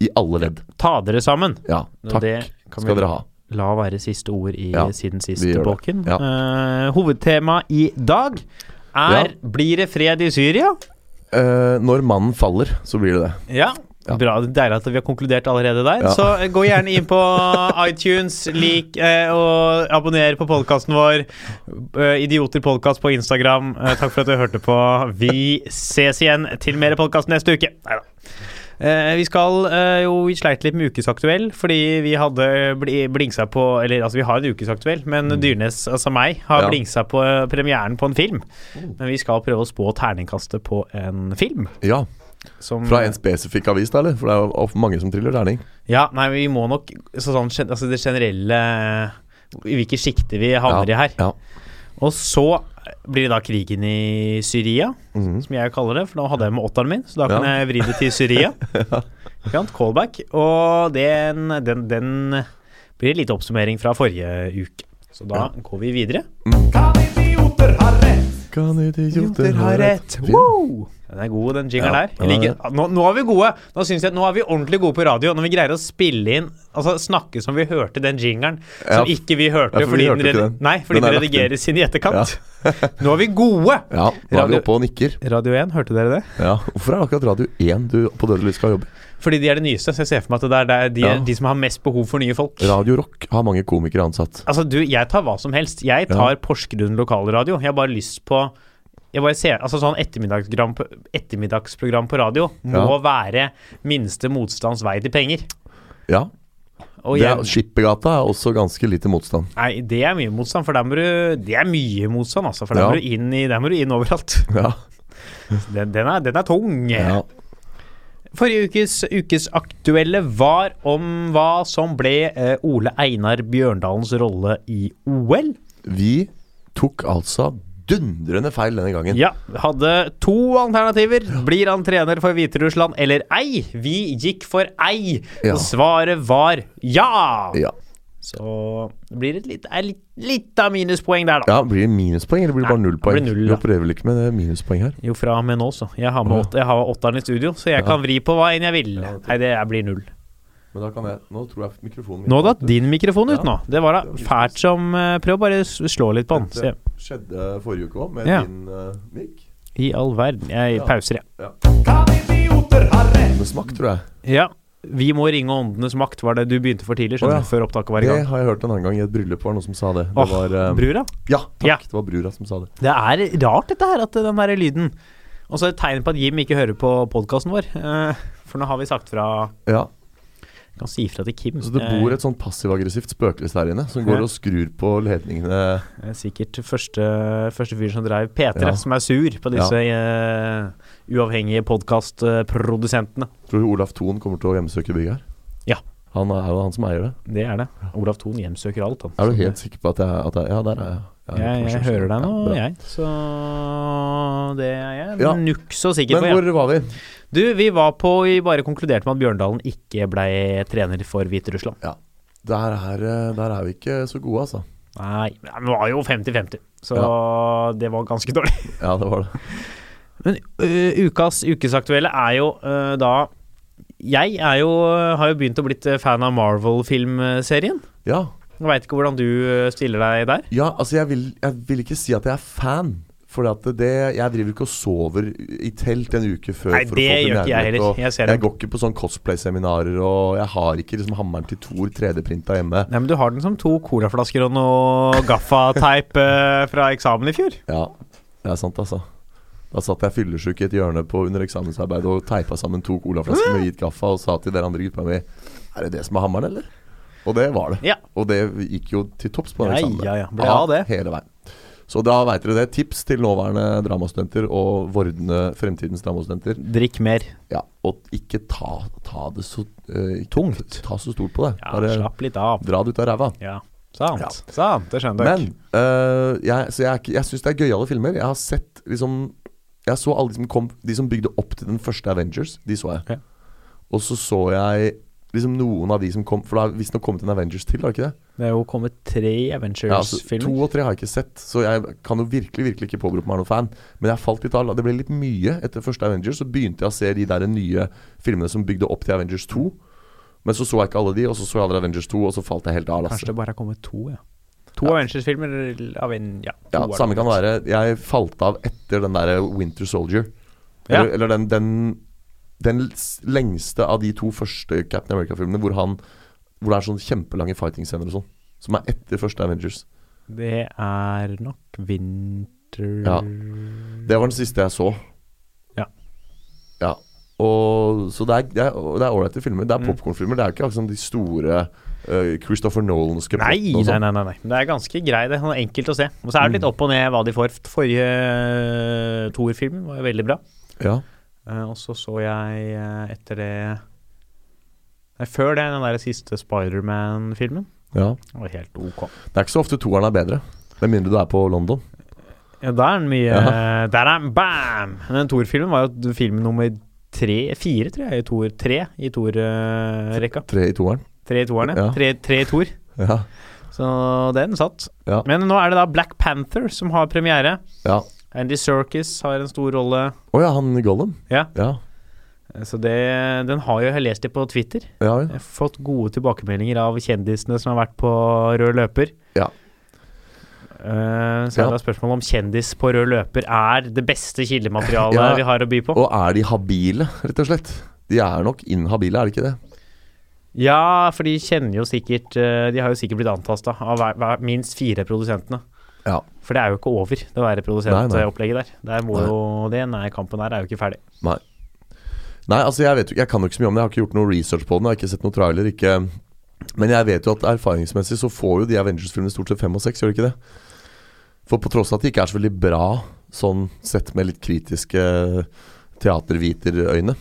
Speaker 2: i alle ledd.
Speaker 1: Ta dere sammen.
Speaker 2: Ja,
Speaker 1: Og
Speaker 2: takk
Speaker 1: det kan
Speaker 2: skal
Speaker 1: vi-
Speaker 2: dere ha.
Speaker 1: La være siste ord i
Speaker 2: Ja,
Speaker 1: siden sist
Speaker 2: vi gjør det.
Speaker 1: bolken.
Speaker 2: Ja.
Speaker 1: Eh, hovedtema i dag er
Speaker 2: Ja.
Speaker 1: Blir det fred i Syria?
Speaker 2: Eh, når mannen faller, så blir det det.
Speaker 1: Ja.
Speaker 2: Ja.
Speaker 1: Bra, Deilig at vi har konkludert allerede der.
Speaker 2: Ja.
Speaker 1: Så eh, gå gjerne inn på
Speaker 2: [LAUGHS]
Speaker 1: iTunes, lik eh, og abonner på podkasten vår. Eh, Idioter podcast på Instagram. Eh, takk for at du hørte på. Vi ses igjen til mer podkast neste uke. Neida. Eh, vi skal eh, jo Vi sleit litt med Ukesaktuell, fordi vi hadde bli, blingsa på Eller altså, vi har en Ukesaktuell, men Dyrnes, altså meg, har
Speaker 2: Mm. Ja. Oh.
Speaker 1: blingsa på eh, premieren på en film. Men vi skal prøve å spå terningkastet på en film.
Speaker 2: Ja,
Speaker 1: Som,
Speaker 2: Fra en spesifikk avis, da, eller? For det er jo of- mange som triller terning.
Speaker 1: Ja, nei, vi må nok så sånn, gen- altså Det generelle eh, I hvilke sjikter vi havner i her.
Speaker 2: Ja.
Speaker 1: Og så blir det da krigen i Syria,
Speaker 2: Mhm.
Speaker 1: som jeg kaller det. For nå hadde jeg med åtteren min, så da kan
Speaker 2: Ja.
Speaker 1: jeg vri det til
Speaker 2: [LAUGHS]
Speaker 1: Syria. Ikke sant? Callback. Og den, den, den blir en liten oppsummering fra forrige uke. Så da går vi videre.
Speaker 3: Kan idioter ha rett?
Speaker 2: Kan idioter ha rett?
Speaker 1: Wow! Den er god, den jingeren
Speaker 2: Ja,
Speaker 1: der.
Speaker 2: den
Speaker 1: Jeg
Speaker 2: er
Speaker 1: liker, nå, nå er vi gode. Nå synes jeg at nå er vi ordentlig gode på radio. Når vi greier å spille inn Altså snakke som vi hørte den jingeren som
Speaker 2: Ja.
Speaker 1: ikke vi hørte.
Speaker 2: Ja, for
Speaker 1: fordi
Speaker 2: vi hørte
Speaker 1: den,
Speaker 2: ikke
Speaker 1: redi-
Speaker 2: den.
Speaker 1: Nei, fordi
Speaker 2: Den
Speaker 1: den,
Speaker 2: er lagt inn.
Speaker 1: redigeres inn i etterkant. [LAUGHS] nå er vi gode!
Speaker 2: Ja, nå er vi
Speaker 1: Radio-
Speaker 2: oppe og nikker.
Speaker 1: Radio 1, hørte dere det?
Speaker 2: Ja. Hvorfor er det akkurat Radio 1 du på Dødelig skal jobbe?
Speaker 1: Fordi de er det nyeste, så jeg ser for meg at det er der de,
Speaker 2: Ja.
Speaker 1: de som har mest behov for nye folk.
Speaker 2: Radio Rock har mange komikere ansatt.
Speaker 1: Altså, du, jeg tar hva som helst. Jeg tar Porsgrunn lokalradio. Jeg har bare lyst på jeg bare ser, altså sånn ettermiddagsprogram på, ettermiddagsprogram på radio må
Speaker 2: Ja.
Speaker 1: være minste motstands vei til penger.
Speaker 2: Ja.
Speaker 1: Og
Speaker 2: Det er,
Speaker 1: jeg,
Speaker 2: Skippergata er også ganske lite motstand. [LAUGHS]
Speaker 1: nei, det er mye motstand, for der må du Det er mye motstand, altså. For der,
Speaker 2: Ja.
Speaker 1: må, du inn i, der må du inn overalt. [LAUGHS]
Speaker 2: Ja.
Speaker 1: Den, den, er, den er tung.
Speaker 2: ja.
Speaker 1: Forrige ukes ukesaktuelle var om hva som ble eh, Ole Einar Bjørndalens rolle i OL.
Speaker 2: Vi tok altså dundrende feil denne gangen.
Speaker 1: Ja, hadde to alternativer. Blir han trener for Hviterussland eller ei? Vi gikk for ei,
Speaker 2: Ja.
Speaker 1: og svaret var ja!
Speaker 2: Ja.
Speaker 1: Så det blir et litt, er litt, litt av minuspoeng der, da.
Speaker 2: Ja, Blir det minuspoeng, eller blir det bare
Speaker 1: Nei,
Speaker 2: null poeng?
Speaker 1: det blir null,
Speaker 2: Vi
Speaker 1: da.
Speaker 2: opererer vel ikke med det minuspoeng her?
Speaker 1: Jo, fra og med nå, så. Jeg har, med åt, jeg har åtteren i studio, så jeg kan vri på hva enn jeg vil. Nei, det er- blir null.
Speaker 2: Men da kan jeg Nå tror jeg mikrofonen min
Speaker 1: Nå datt din mikrofon ut nå. Det var da fælt som eh, Prøv å bare s- slå litt på den. Se.
Speaker 2: skjedde forrige uke òg, med
Speaker 1: Ja.
Speaker 2: din uh, mic.
Speaker 1: I all verden. Jeg pauser, jeg.
Speaker 3: Kan idioter ha rett?
Speaker 2: Med smak, tror jeg.
Speaker 1: Ja. Vi må ringe åndenes makt, var det du begynte for tidlig,
Speaker 2: Å,
Speaker 1: skjønner
Speaker 2: ja.
Speaker 1: du, før opptaket var i
Speaker 2: Det
Speaker 1: gang.
Speaker 2: har jeg hørt en annen gang i et bryllup var det noen som sa det. Det
Speaker 1: Åh,
Speaker 2: var eh,
Speaker 1: brura?
Speaker 2: Ja, takk.
Speaker 1: Ja.
Speaker 2: Det var brura som sa det.
Speaker 1: Det er rart dette her, at den der lyden Og så et tegn på at Jim ikke hører på podkasten vår. Eh, For nå har vi sagt fra
Speaker 2: Ja,
Speaker 1: jeg Kan si fra til Kim.
Speaker 2: Så det bor et sånn passiv-aggressivt spøkelse der inne som går
Speaker 1: Ja.
Speaker 2: og skrur på ledningene.
Speaker 1: Eh, Sikkert første, første fyr som drev P3,
Speaker 2: Ja.
Speaker 1: som er sur på disse eh, uavhengige podkastprodusentene.
Speaker 2: Tror du Olaf Thon kommer til å hjemsøke bygget her?
Speaker 1: Ja.
Speaker 2: Han er jo han som eier det.
Speaker 1: Det er det. Olav Thon hjemsøker alt, han.
Speaker 2: Er du
Speaker 1: Så
Speaker 2: helt sikker på at jeg, at jeg Ja, der er jeg.
Speaker 1: det- jeg, jeg hører deg nå,
Speaker 2: bra.
Speaker 1: jeg. Så det er jeg
Speaker 2: Ja.
Speaker 1: nuk så sikker
Speaker 2: Men
Speaker 1: på. Ja.
Speaker 2: hvor var vi?
Speaker 1: Du, vi var på Vi bare konkluderte med at Bjørndalen ikke ble trener for Hviterussland.
Speaker 2: Der er, eh, der er vi ikke så gode, altså.
Speaker 1: Nei, men han var jo 50-50, så det var ganske dårlig. [LAUGHS]
Speaker 2: Ja, det var det.
Speaker 1: Men ø, ukas ukesaktuelle er jo ø, da Jeg er jo, eh, har jo begynt å blitt ø, fan av Marvel-filmserien.
Speaker 2: Ja,
Speaker 1: Jeg Veit ikke hvordan du ø, stiller deg der.
Speaker 2: ja altså jeg vil, jeg vil ikke si at jeg er fan, Fordi at det, jeg driver ikke og sover i telt en uke før
Speaker 1: Nei,
Speaker 2: for
Speaker 1: det
Speaker 2: å få
Speaker 1: gjør ikke jeg heller.
Speaker 2: premieremøte, og
Speaker 1: Jeg ser
Speaker 2: jeg
Speaker 1: den.
Speaker 2: går ikke på sånn cosplay-seminarer, og jeg har ikke liksom hammeren til Thor 3D-printa hjemme.
Speaker 1: Nei, men Du har den som to colaflasker og noe [LAUGHS] gaffateip eh, fra eksamen i fjor.
Speaker 2: Ja, det er sant, altså. Da satt jeg fyllesyk i et hjørne på under eksamensarbeid og teipa sammen to colaflasker med hvit gaffa og sa til dere andre gutta mi Er det det som er hammeren, eller? Og det var det.
Speaker 1: Ja.
Speaker 2: Og det gikk jo til topps på den
Speaker 1: Ja,
Speaker 2: eksamen.
Speaker 1: ja, ja. Ble av det.
Speaker 2: Hele veien. Så da veit dere det. Tips til nåværende dramastudenter og vordende fremtidens dramastudenter.
Speaker 1: Drikk mer.
Speaker 2: Ja, og ikke ta, ta det så eh, ikke
Speaker 1: Tungt.
Speaker 2: Ta så stort på det.
Speaker 1: Ja,
Speaker 2: Bare
Speaker 1: slapp litt av.
Speaker 2: dra det ut av ræva.
Speaker 1: Ja, sant.
Speaker 2: Ja.
Speaker 1: Sant, Det skjønner dere.
Speaker 2: Men øh, jeg, så jeg, er ikke- jeg syns det er gøyale filmer. Jeg har sett liksom Jeg så alle de som kom De som bygde opp til den første Avengers. De så
Speaker 1: Ja.
Speaker 2: jeg. Og så så jeg liksom noen av de som kom For det har visstnok kommet en Avengers til, har det ikke det?
Speaker 1: Det er jo kommet tre
Speaker 2: Ja, altså, to
Speaker 1: Avengers-filmer.
Speaker 2: og tre har jeg ikke sett, så jeg kan jo virkelig virkelig ikke påberope meg noen fan. Men jeg falt litt av. Det ble litt mye etter første Avengers. Så begynte jeg å se de der nye filmene som bygde opp til Avengers 2. Men så så jeg ikke alle de, og så så jeg alle Avengers 2, og så falt jeg helt av. altså.
Speaker 1: Kanskje
Speaker 2: Lasse.
Speaker 1: det bare har kommet to, ja. To Avengers-filmer av en Ja, to
Speaker 2: Ja,
Speaker 1: er det
Speaker 2: samme kan
Speaker 1: kommet.
Speaker 2: være. Jeg falt av etter den derre Winter Soldier. Eller,
Speaker 1: Ja.
Speaker 2: eller den, den, den s- lengste av de to første Captain America-filmene hvor, han- hvor det er sånn kjempelange fighting-scener og sånn. Som er etter første Avengers.
Speaker 1: Det er nok Winter
Speaker 2: Ja. Det var den siste jeg så.
Speaker 1: Ja.
Speaker 2: Ja. Og, så det er- det er det er ålreite filmer. Det er
Speaker 1: Mm.
Speaker 2: popkornfilmer. Det er ikke akkurat som de store eh, Christopher Nolanske
Speaker 1: Nei,
Speaker 2: plottene
Speaker 1: nei,
Speaker 2: og sånn.
Speaker 1: nei, nei, nei. Det er ganske grei, det. Sånn enkelt å se. Og så er det
Speaker 2: Mm.
Speaker 1: litt opp og ned hva de får. Forrige eh, Thor-filmen var jo veldig bra.
Speaker 2: Ja.
Speaker 1: Eh, og så så jeg eh, etter det Nei, før det, den der siste Spiderman-filmen.
Speaker 2: ja.
Speaker 1: Den var helt ok.
Speaker 2: Det er ikke så ofte toeren er bedre. Med mindre du er på London.
Speaker 1: Ja, der er den mye Der
Speaker 2: Ja.
Speaker 1: er den, bam! Men den Thor-filmen var jo film nummer tre Fire, tror jeg, i Thor. Tre i Thor-rekka.
Speaker 2: Tre i toeren.
Speaker 1: Tre i toerne.
Speaker 2: Ja.
Speaker 1: Tre, tre i Thor.
Speaker 2: Ja.
Speaker 1: Så den satt.
Speaker 2: Ja.
Speaker 1: Men nå er det da Black Panther som har premiere.
Speaker 2: ja.
Speaker 1: Andy Serkis har en stor rolle.
Speaker 2: Å ja, han Gollum?
Speaker 1: Ja.
Speaker 2: Ja,
Speaker 1: Så det, den har jo jeg lest det på Twitter.
Speaker 2: ja,
Speaker 1: Jeg
Speaker 2: vel.
Speaker 1: har fått gode tilbakemeldinger av kjendisene som har vært på rød løper.
Speaker 2: Ja.
Speaker 1: Eh, så er
Speaker 2: Ja.
Speaker 1: det spørsmålet om kjendis på rød løper er det beste kildematerialet
Speaker 2: Ja.
Speaker 1: vi har å by på.
Speaker 2: Og er de habile, rett og slett? De er nok inhabile, er de ikke det?
Speaker 1: Ja, for de kjenner jo sikkert eh, De har jo sikkert blitt antasta av hver, hver, minst fire produsentene.
Speaker 2: Ja.
Speaker 1: For det er jo ikke over, det der
Speaker 2: Nei, nei.
Speaker 1: produsentopplegget eh, der. Der må
Speaker 2: Nei.
Speaker 1: jo det, nei, kampen der er jo ikke ferdig.
Speaker 2: Nei. Nei, altså jeg vet jo ikke, jeg kan jo ikke så mye om det. Jeg har ikke gjort noe research på den. Jeg har ikke sett noen trailer. ikke... Men jeg vet jo at erfaringsmessig så får jo de Avengers-filmene stort sett fem og seks, gjør de ikke det? For på tross av at de ikke er så veldig bra sånn sett med litt kritiske eh, teaterviterøyne,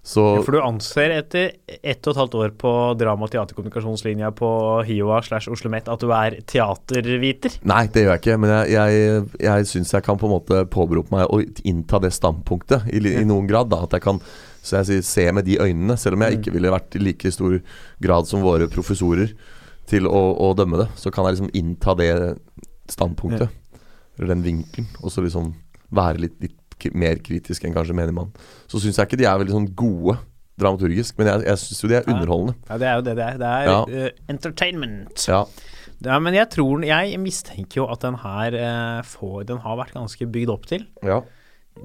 Speaker 2: så
Speaker 1: Ja, for du anser etter ett og et halvt år på drama- og teaterkommunikasjonslinja på HiOA slash OsloMet at du er teaterviter?
Speaker 2: Nei, det gjør jeg ikke, men jeg, jeg, jeg syns jeg kan på en måte påberope meg å innta det standpunktet i, li- i noen grad. Da, at jeg kan så jeg sier, se med de øynene, selv om jeg ikke ville vært i like stor grad som våre professorer til å, å dømme det. Så kan jeg liksom innta det standpunktet, eller den vinkelen, og så liksom være litt, litt k- mer kritisk enn kanskje menigmann. Så syns jeg ikke de er veldig sånn gode dramaturgisk, men jeg, jeg syns jo de er
Speaker 1: Ja.
Speaker 2: underholdende.
Speaker 1: Ja, det er jo det det er. Det er
Speaker 2: Ja.
Speaker 1: eh, entertainment.
Speaker 2: Ja,
Speaker 1: Ja, men jeg tror Jeg mistenker jo at den her eh, får Den har vært ganske bygd opp til.
Speaker 2: ja.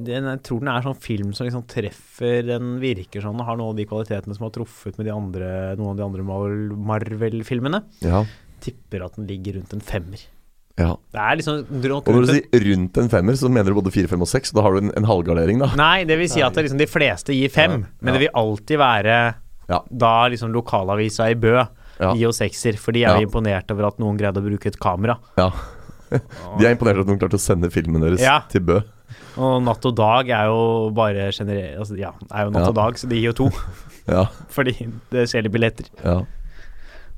Speaker 1: Den, jeg tror den er sånn film som liksom treffer Den virker sånn og har noen av de kvalitetene som har truffet med de andre, noen av de andre Marvel- Marvel-filmene.
Speaker 2: ja,
Speaker 1: Tipper at den ligger rundt en femmer.
Speaker 2: ja.
Speaker 1: Det er liksom rundt,
Speaker 2: Og når
Speaker 1: rundt
Speaker 2: du
Speaker 1: en
Speaker 2: sier rundt en femmer, så mener du både fire, fem og seks. og Da har du en, en halvgardering, da.
Speaker 1: Nei, det vil si at det er liksom de fleste gir fem,
Speaker 2: Ja,
Speaker 1: men det vil alltid være
Speaker 2: Ja.
Speaker 1: da liksom lokalavisa i Bø
Speaker 2: Ja.
Speaker 1: gi oss sekser, for de er jo
Speaker 2: Ja.
Speaker 1: imponert over at noen greide å bruke et kamera.
Speaker 2: Ja. [LAUGHS] De er imponert over at noen klarte å sende filmen deres
Speaker 1: Ja.
Speaker 2: til Bø.
Speaker 1: Og Natt og dag er jo bare generelt altså, Ja, er jo Natt
Speaker 2: Ja.
Speaker 1: og dag, så de gir jo to, [LAUGHS]
Speaker 2: Ja,
Speaker 1: fordi det selger billetter.
Speaker 2: ja.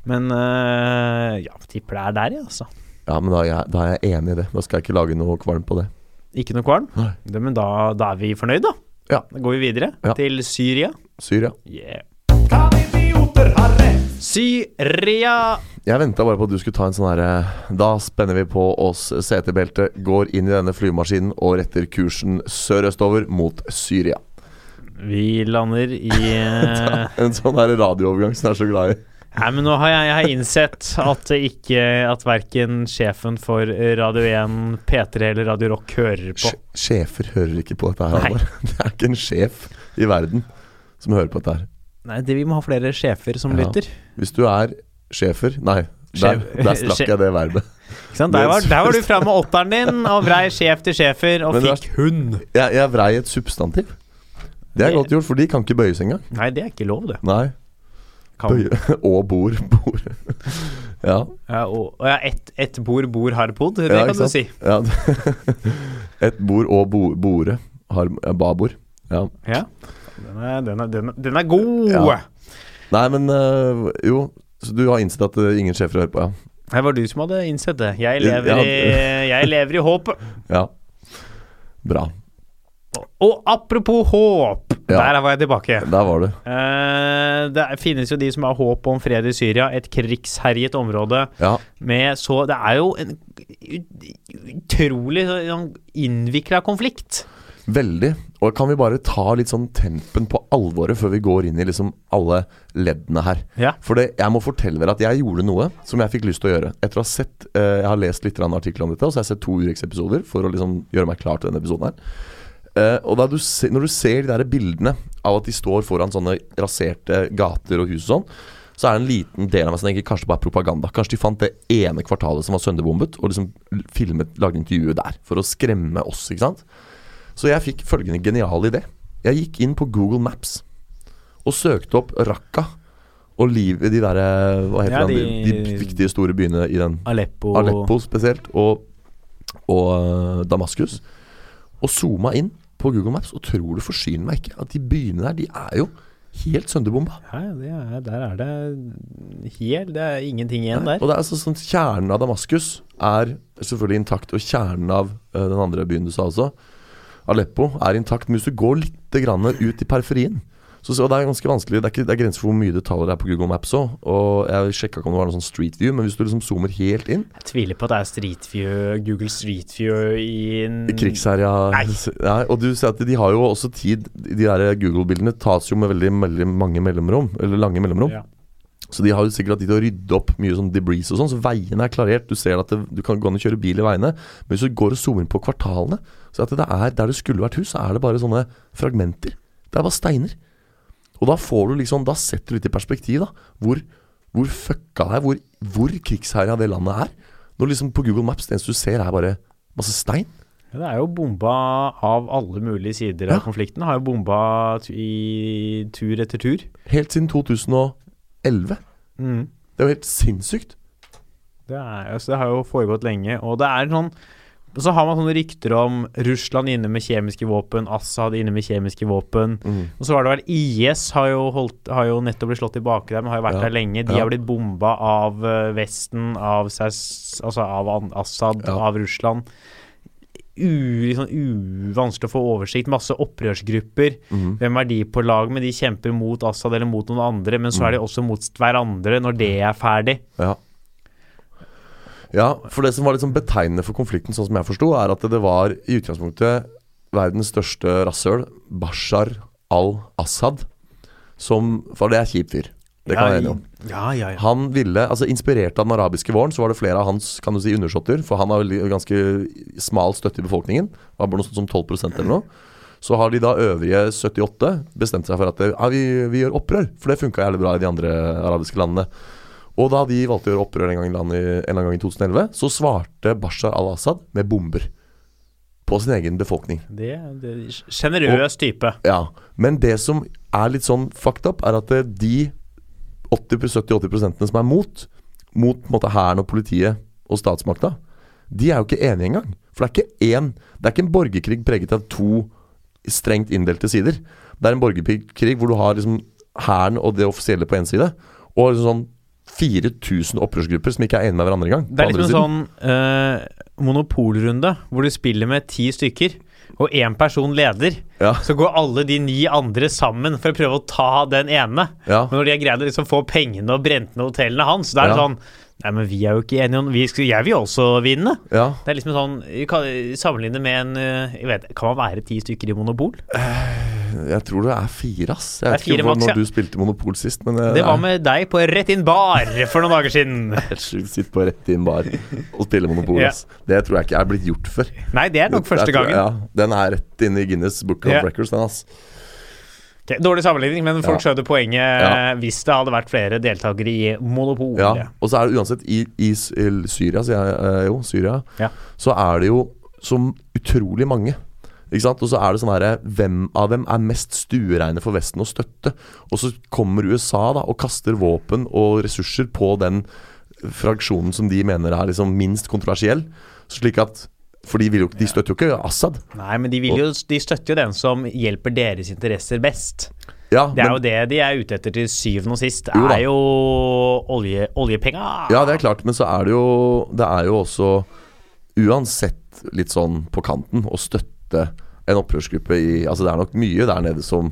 Speaker 1: Men øh, ja, tipper det er der, ja, altså.
Speaker 2: ja men da er, jeg, da er jeg enig i det. Da skal jeg ikke lage noe kvalm på det.
Speaker 1: Ikke noe kvalm.
Speaker 2: Nei.
Speaker 1: Det, men da, da er vi fornøyd, da.
Speaker 2: Ja.
Speaker 1: Da går vi videre
Speaker 2: Ja.
Speaker 1: til Syria.
Speaker 2: Syria.
Speaker 1: Yeah.
Speaker 3: idioter herre.
Speaker 1: Syria!
Speaker 2: Jeg venta bare på at du skulle ta en sånn herre Da spenner vi på oss setebeltet, går inn i denne flymaskinen og retter kursen sørøstover mot Syria.
Speaker 1: Vi lander i øh,
Speaker 2: [LAUGHS]
Speaker 1: Eh.
Speaker 2: En sånn her radioovergang som jeg er så glad i.
Speaker 1: Nei, men nå har jeg, jeg har innsett at det ikke At verken sjefen for Radio 1, P3 eller Radio Rock hører på.
Speaker 2: Sj- Sjefer hører ikke på dette her,
Speaker 1: Nei.
Speaker 2: Halvor. [LAUGHS] Det er ikke en sjef i verden som hører på dette her.
Speaker 1: Nei, det, vi må ha flere sjefer som
Speaker 2: Ja.
Speaker 1: lytter.
Speaker 2: Hvis du er sjefer Nei, der,
Speaker 1: Sjef-
Speaker 2: [LAUGHS] der strakk
Speaker 1: sjef-
Speaker 2: jeg det
Speaker 1: [LAUGHS]
Speaker 2: verbet.
Speaker 1: Ikke sant? Der, var, der
Speaker 2: [LAUGHS]
Speaker 1: var du framme med åtteren din og vrei sjef til sjefer og
Speaker 2: Men det er-
Speaker 1: fikk hund.
Speaker 2: Jeg, jeg vrei et substantiv. Det er godt gjort, for de kan ikke bøyes engang.
Speaker 1: Nei, det er ikke lov, det.
Speaker 2: Nei.
Speaker 1: Kan.
Speaker 2: Bøye. [LAUGHS] Og bord. bord. Ja.
Speaker 1: Ja, og, og ja, ett et bord bord har pod, det
Speaker 2: Ja,
Speaker 1: kan du
Speaker 2: ikke sant?
Speaker 1: si.
Speaker 2: ja. [LAUGHS] Et bord og bo, bordet. Har, eh, babord. Ja.
Speaker 1: Ja. Den er, den er, den er, den er god!
Speaker 2: Ja. Nei, men eh, jo. Så du har innsett at eh, ingen sjefer hører på, ja.
Speaker 1: Det var du som hadde innsett det. Jeg lever
Speaker 2: Ja.
Speaker 1: i, jeg lever i håpet.
Speaker 2: Ja. Bra.
Speaker 1: Og apropos håp,
Speaker 2: Ja.
Speaker 1: der var jeg tilbake.
Speaker 2: Der var du.
Speaker 1: Eh, det er- finnes jo de som har håp om fred i Syria, et krigsherjet område
Speaker 2: Ja.
Speaker 1: med så Det er jo en ut- utrolig sånn innvikla konflikt.
Speaker 2: Veldig. Og kan vi bare ta litt sånn tempen på alvoret før vi går inn i liksom alle leddene her?
Speaker 1: Ja.
Speaker 2: For det, jeg må fortelle dere at jeg gjorde noe som jeg fikk lyst til å gjøre. Etter å ha sett, eh, Jeg har lest litt grann artikler om dette, og så har jeg sett to Urix-episoder for å liksom gjøre meg klar til denne episoden. her. Eh, og da du se, Når du ser de der bildene av at de står foran sånne raserte gater og hus og sånn, så er det en liten del av meg som tenker kanskje det bare er propaganda. Kanskje de fant det ene kvartalet som var sønderbombet, og liksom filmet, lagde intervjuet der for å skremme oss. ikke sant? Så jeg fikk følgende geniale idé. Jeg gikk inn på Google Maps og søkte opp Raqqa og liv, de der eh, Hva heter
Speaker 1: Ja,
Speaker 2: de, de,
Speaker 1: de-
Speaker 2: de viktige store byene i den?
Speaker 1: Aleppo,
Speaker 2: Aleppo spesielt, og, og eh, Damaskus. Og zooma inn på Google Maps, og tror du forsyner meg ikke at de byene der, de er jo helt sønderbomba.
Speaker 1: Ja, det er, Der er det helt Det er ingenting igjen der.
Speaker 2: Og det er altså sånn kjernen av Damaskus er selvfølgelig intakt, og kjernen av eh, den andre byen du sa også, Aleppo, er intakt. Men hvis du går litt grann ut i periferien så, så, og Det er ganske vanskelig, det er, ikke, det er grenser for hvor mye detaljer det er på Google Maps òg. Og jeg sjekka ikke om det var noe sånn street view, men hvis du liksom zoomer helt inn
Speaker 1: Jeg tviler på at det er Street View, Google Street View i en-
Speaker 2: Krigsherja
Speaker 1: Mm. Nei.
Speaker 2: [LAUGHS] Nei, Og du ser at de har jo også tid De der Google-bildene tas jo med veldig, veldig mange mellomrom Eller lange mellomrom
Speaker 1: Ja.
Speaker 2: Så de har jo sikkert hatt tid til å rydde opp mye sånn debris og sånn Så veiene er klarert Du ser at det, du kan gå an og kjøre bil i veiene Men hvis du går og zoomer inn på kvartalene Så at det er der det skulle vært hus Så er det bare sånne fragmenter Det er bare steiner Og da får du liksom Da setter du litt i perspektiv da Hvor, hvor fucka det er Hvor, hvor krigsherja det landet er Når liksom på Google Maps Det eneste du ser er bare Masse stein
Speaker 1: Ja, Det er jo bomba av alle mulige sider av
Speaker 2: Ja.
Speaker 1: konflikten. Har jo bomba tu- i tur etter tur. Mm.
Speaker 2: Helt siden 2011. Det er jo helt sinnssykt.
Speaker 1: Det, er, altså, det har jo foregått lenge, og det er sånn og så har man sånne rykter om Russland inne med kjemiske våpen, Assad inne med kjemiske våpen. Og så var det vel IS har jo, holdt, har jo nettopp blitt slått tilbake der, men har jo vært
Speaker 2: Ja,
Speaker 1: der lenge. De
Speaker 2: ja.
Speaker 1: har blitt bomba av eh, Vesten, av, Saus- altså av An- Assad,
Speaker 2: Ja.
Speaker 1: av Russland. U, litt sånn uvanskelig å få oversikt. Masse opprørsgrupper.
Speaker 2: Mhm.
Speaker 1: Hvem er de på lag med? De kjemper mot Assad eller mot noen andre, men så
Speaker 2: Mhm.
Speaker 1: er de også mot hverandre når det er ferdig.
Speaker 2: Ja. ja, for det som var liksom betegnende for konflikten, sånn som jeg forsto, er at det var i utgangspunktet verdens største rasshøl, Bashar al-Assad, som For det er kjip fyr. Det kan jeg være enig om.
Speaker 1: Ja, ja, ja.
Speaker 2: Han ville, altså Inspirert av den arabiske våren, så var det flere av hans kan du si, undersåtter. For han har vel ganske smal støtte i befolkningen. Var bare noe sånt som 12 eller noe. Så har de da øvrige 78 bestemt seg for at ja, vi, vi gjør opprør. For det funka jævlig bra i de andre arabiske landene. Og da de valgte å gjøre opprør en gang i, landet, i- en eller annen gang i 2011, så svarte Bashar al-Assad med bomber. På sin egen befolkning.
Speaker 1: Det, det Sjenerøs type.
Speaker 2: Ja, men det som er litt sånn fucked up, er at eh, de 70-80 som er mot, mot på en måte hæren og politiet og statsmakta, de er jo ikke enige engang. For det er ikke én Det er ikke en borgerkrig preget av to strengt inndelte sider. Det er en borgerkrig hvor du har liksom hæren og det offisielle på én side, og liksom sånn 4000 opprørsgrupper som ikke er enige med hverandre engang.
Speaker 1: Det er
Speaker 2: på andre
Speaker 1: liksom en
Speaker 2: siden.
Speaker 1: sånn eh, monopolrunde hvor du spiller med ti stykker, og én person leder.
Speaker 2: Ja.
Speaker 1: Så går alle de ni andre sammen for å prøve å ta den ene.
Speaker 2: Ja.
Speaker 1: Men når de har greid å liksom få pengene og brent ned hotellene hans, da er det
Speaker 2: Ja.
Speaker 1: sånn Nei, men vi er jo ikke enige om vi skal, Jeg vil også vinne.
Speaker 2: ja.
Speaker 1: Det er liksom sånn vi kan Sammenligne med en eh, jeg vet, Kan man være ti stykker i monopol?
Speaker 2: Jeg tror det er fire, ass. Jeg
Speaker 1: Det
Speaker 2: vet
Speaker 1: er
Speaker 2: ikke
Speaker 1: fire
Speaker 2: hvor,
Speaker 1: maks, ja.
Speaker 2: når du spilte Monopol sist, men eh,
Speaker 1: Det var
Speaker 2: er
Speaker 1: med deg på Rett inn bar for noen dager siden.
Speaker 2: [LAUGHS] helt sjukt. Sitt på rett inn bar og spille Monopol,
Speaker 1: Ja.
Speaker 2: ass. Det tror jeg ikke er blitt gjort før.
Speaker 1: Nei, det er nok første
Speaker 2: Jeg tror-
Speaker 1: gangen.
Speaker 2: Ja, Den er rett inne i Guinness Book of
Speaker 1: Ja.
Speaker 2: Records, den, ass.
Speaker 1: Ok, dårlig sammenligning, men folk
Speaker 2: Ja.
Speaker 1: skjønner poenget
Speaker 2: Ja.
Speaker 1: eh, hvis det hadde vært flere deltakere i Monopol.
Speaker 2: Ja, og så er det uansett I, i S- eller Syria, sier jeg eh, jo, Syria,
Speaker 1: Ja.
Speaker 2: så er det jo så utrolig mange. Ikke sant? Og så er det sånn herre Hvem av dem er mest stuereine for Vesten å støtte? Og så kommer USA da og kaster våpen og ressurser på den fraksjonen som de mener er liksom minst kontroversiell. Slik at For de, vil jo, de støtter jo ikke Assad.
Speaker 1: Nei, men de, vil jo, de støtter jo den som hjelper deres interesser best.
Speaker 2: Ja,
Speaker 1: Det er
Speaker 2: men-
Speaker 1: jo det de er ute etter til syvende og sist.
Speaker 2: Jo da.
Speaker 1: er jo olje, oljepenga.
Speaker 2: Ja, det er klart, men så er det jo Det er jo også uansett litt sånn på kanten å støtte en opprørsgruppe i Altså det er nok mye der nede som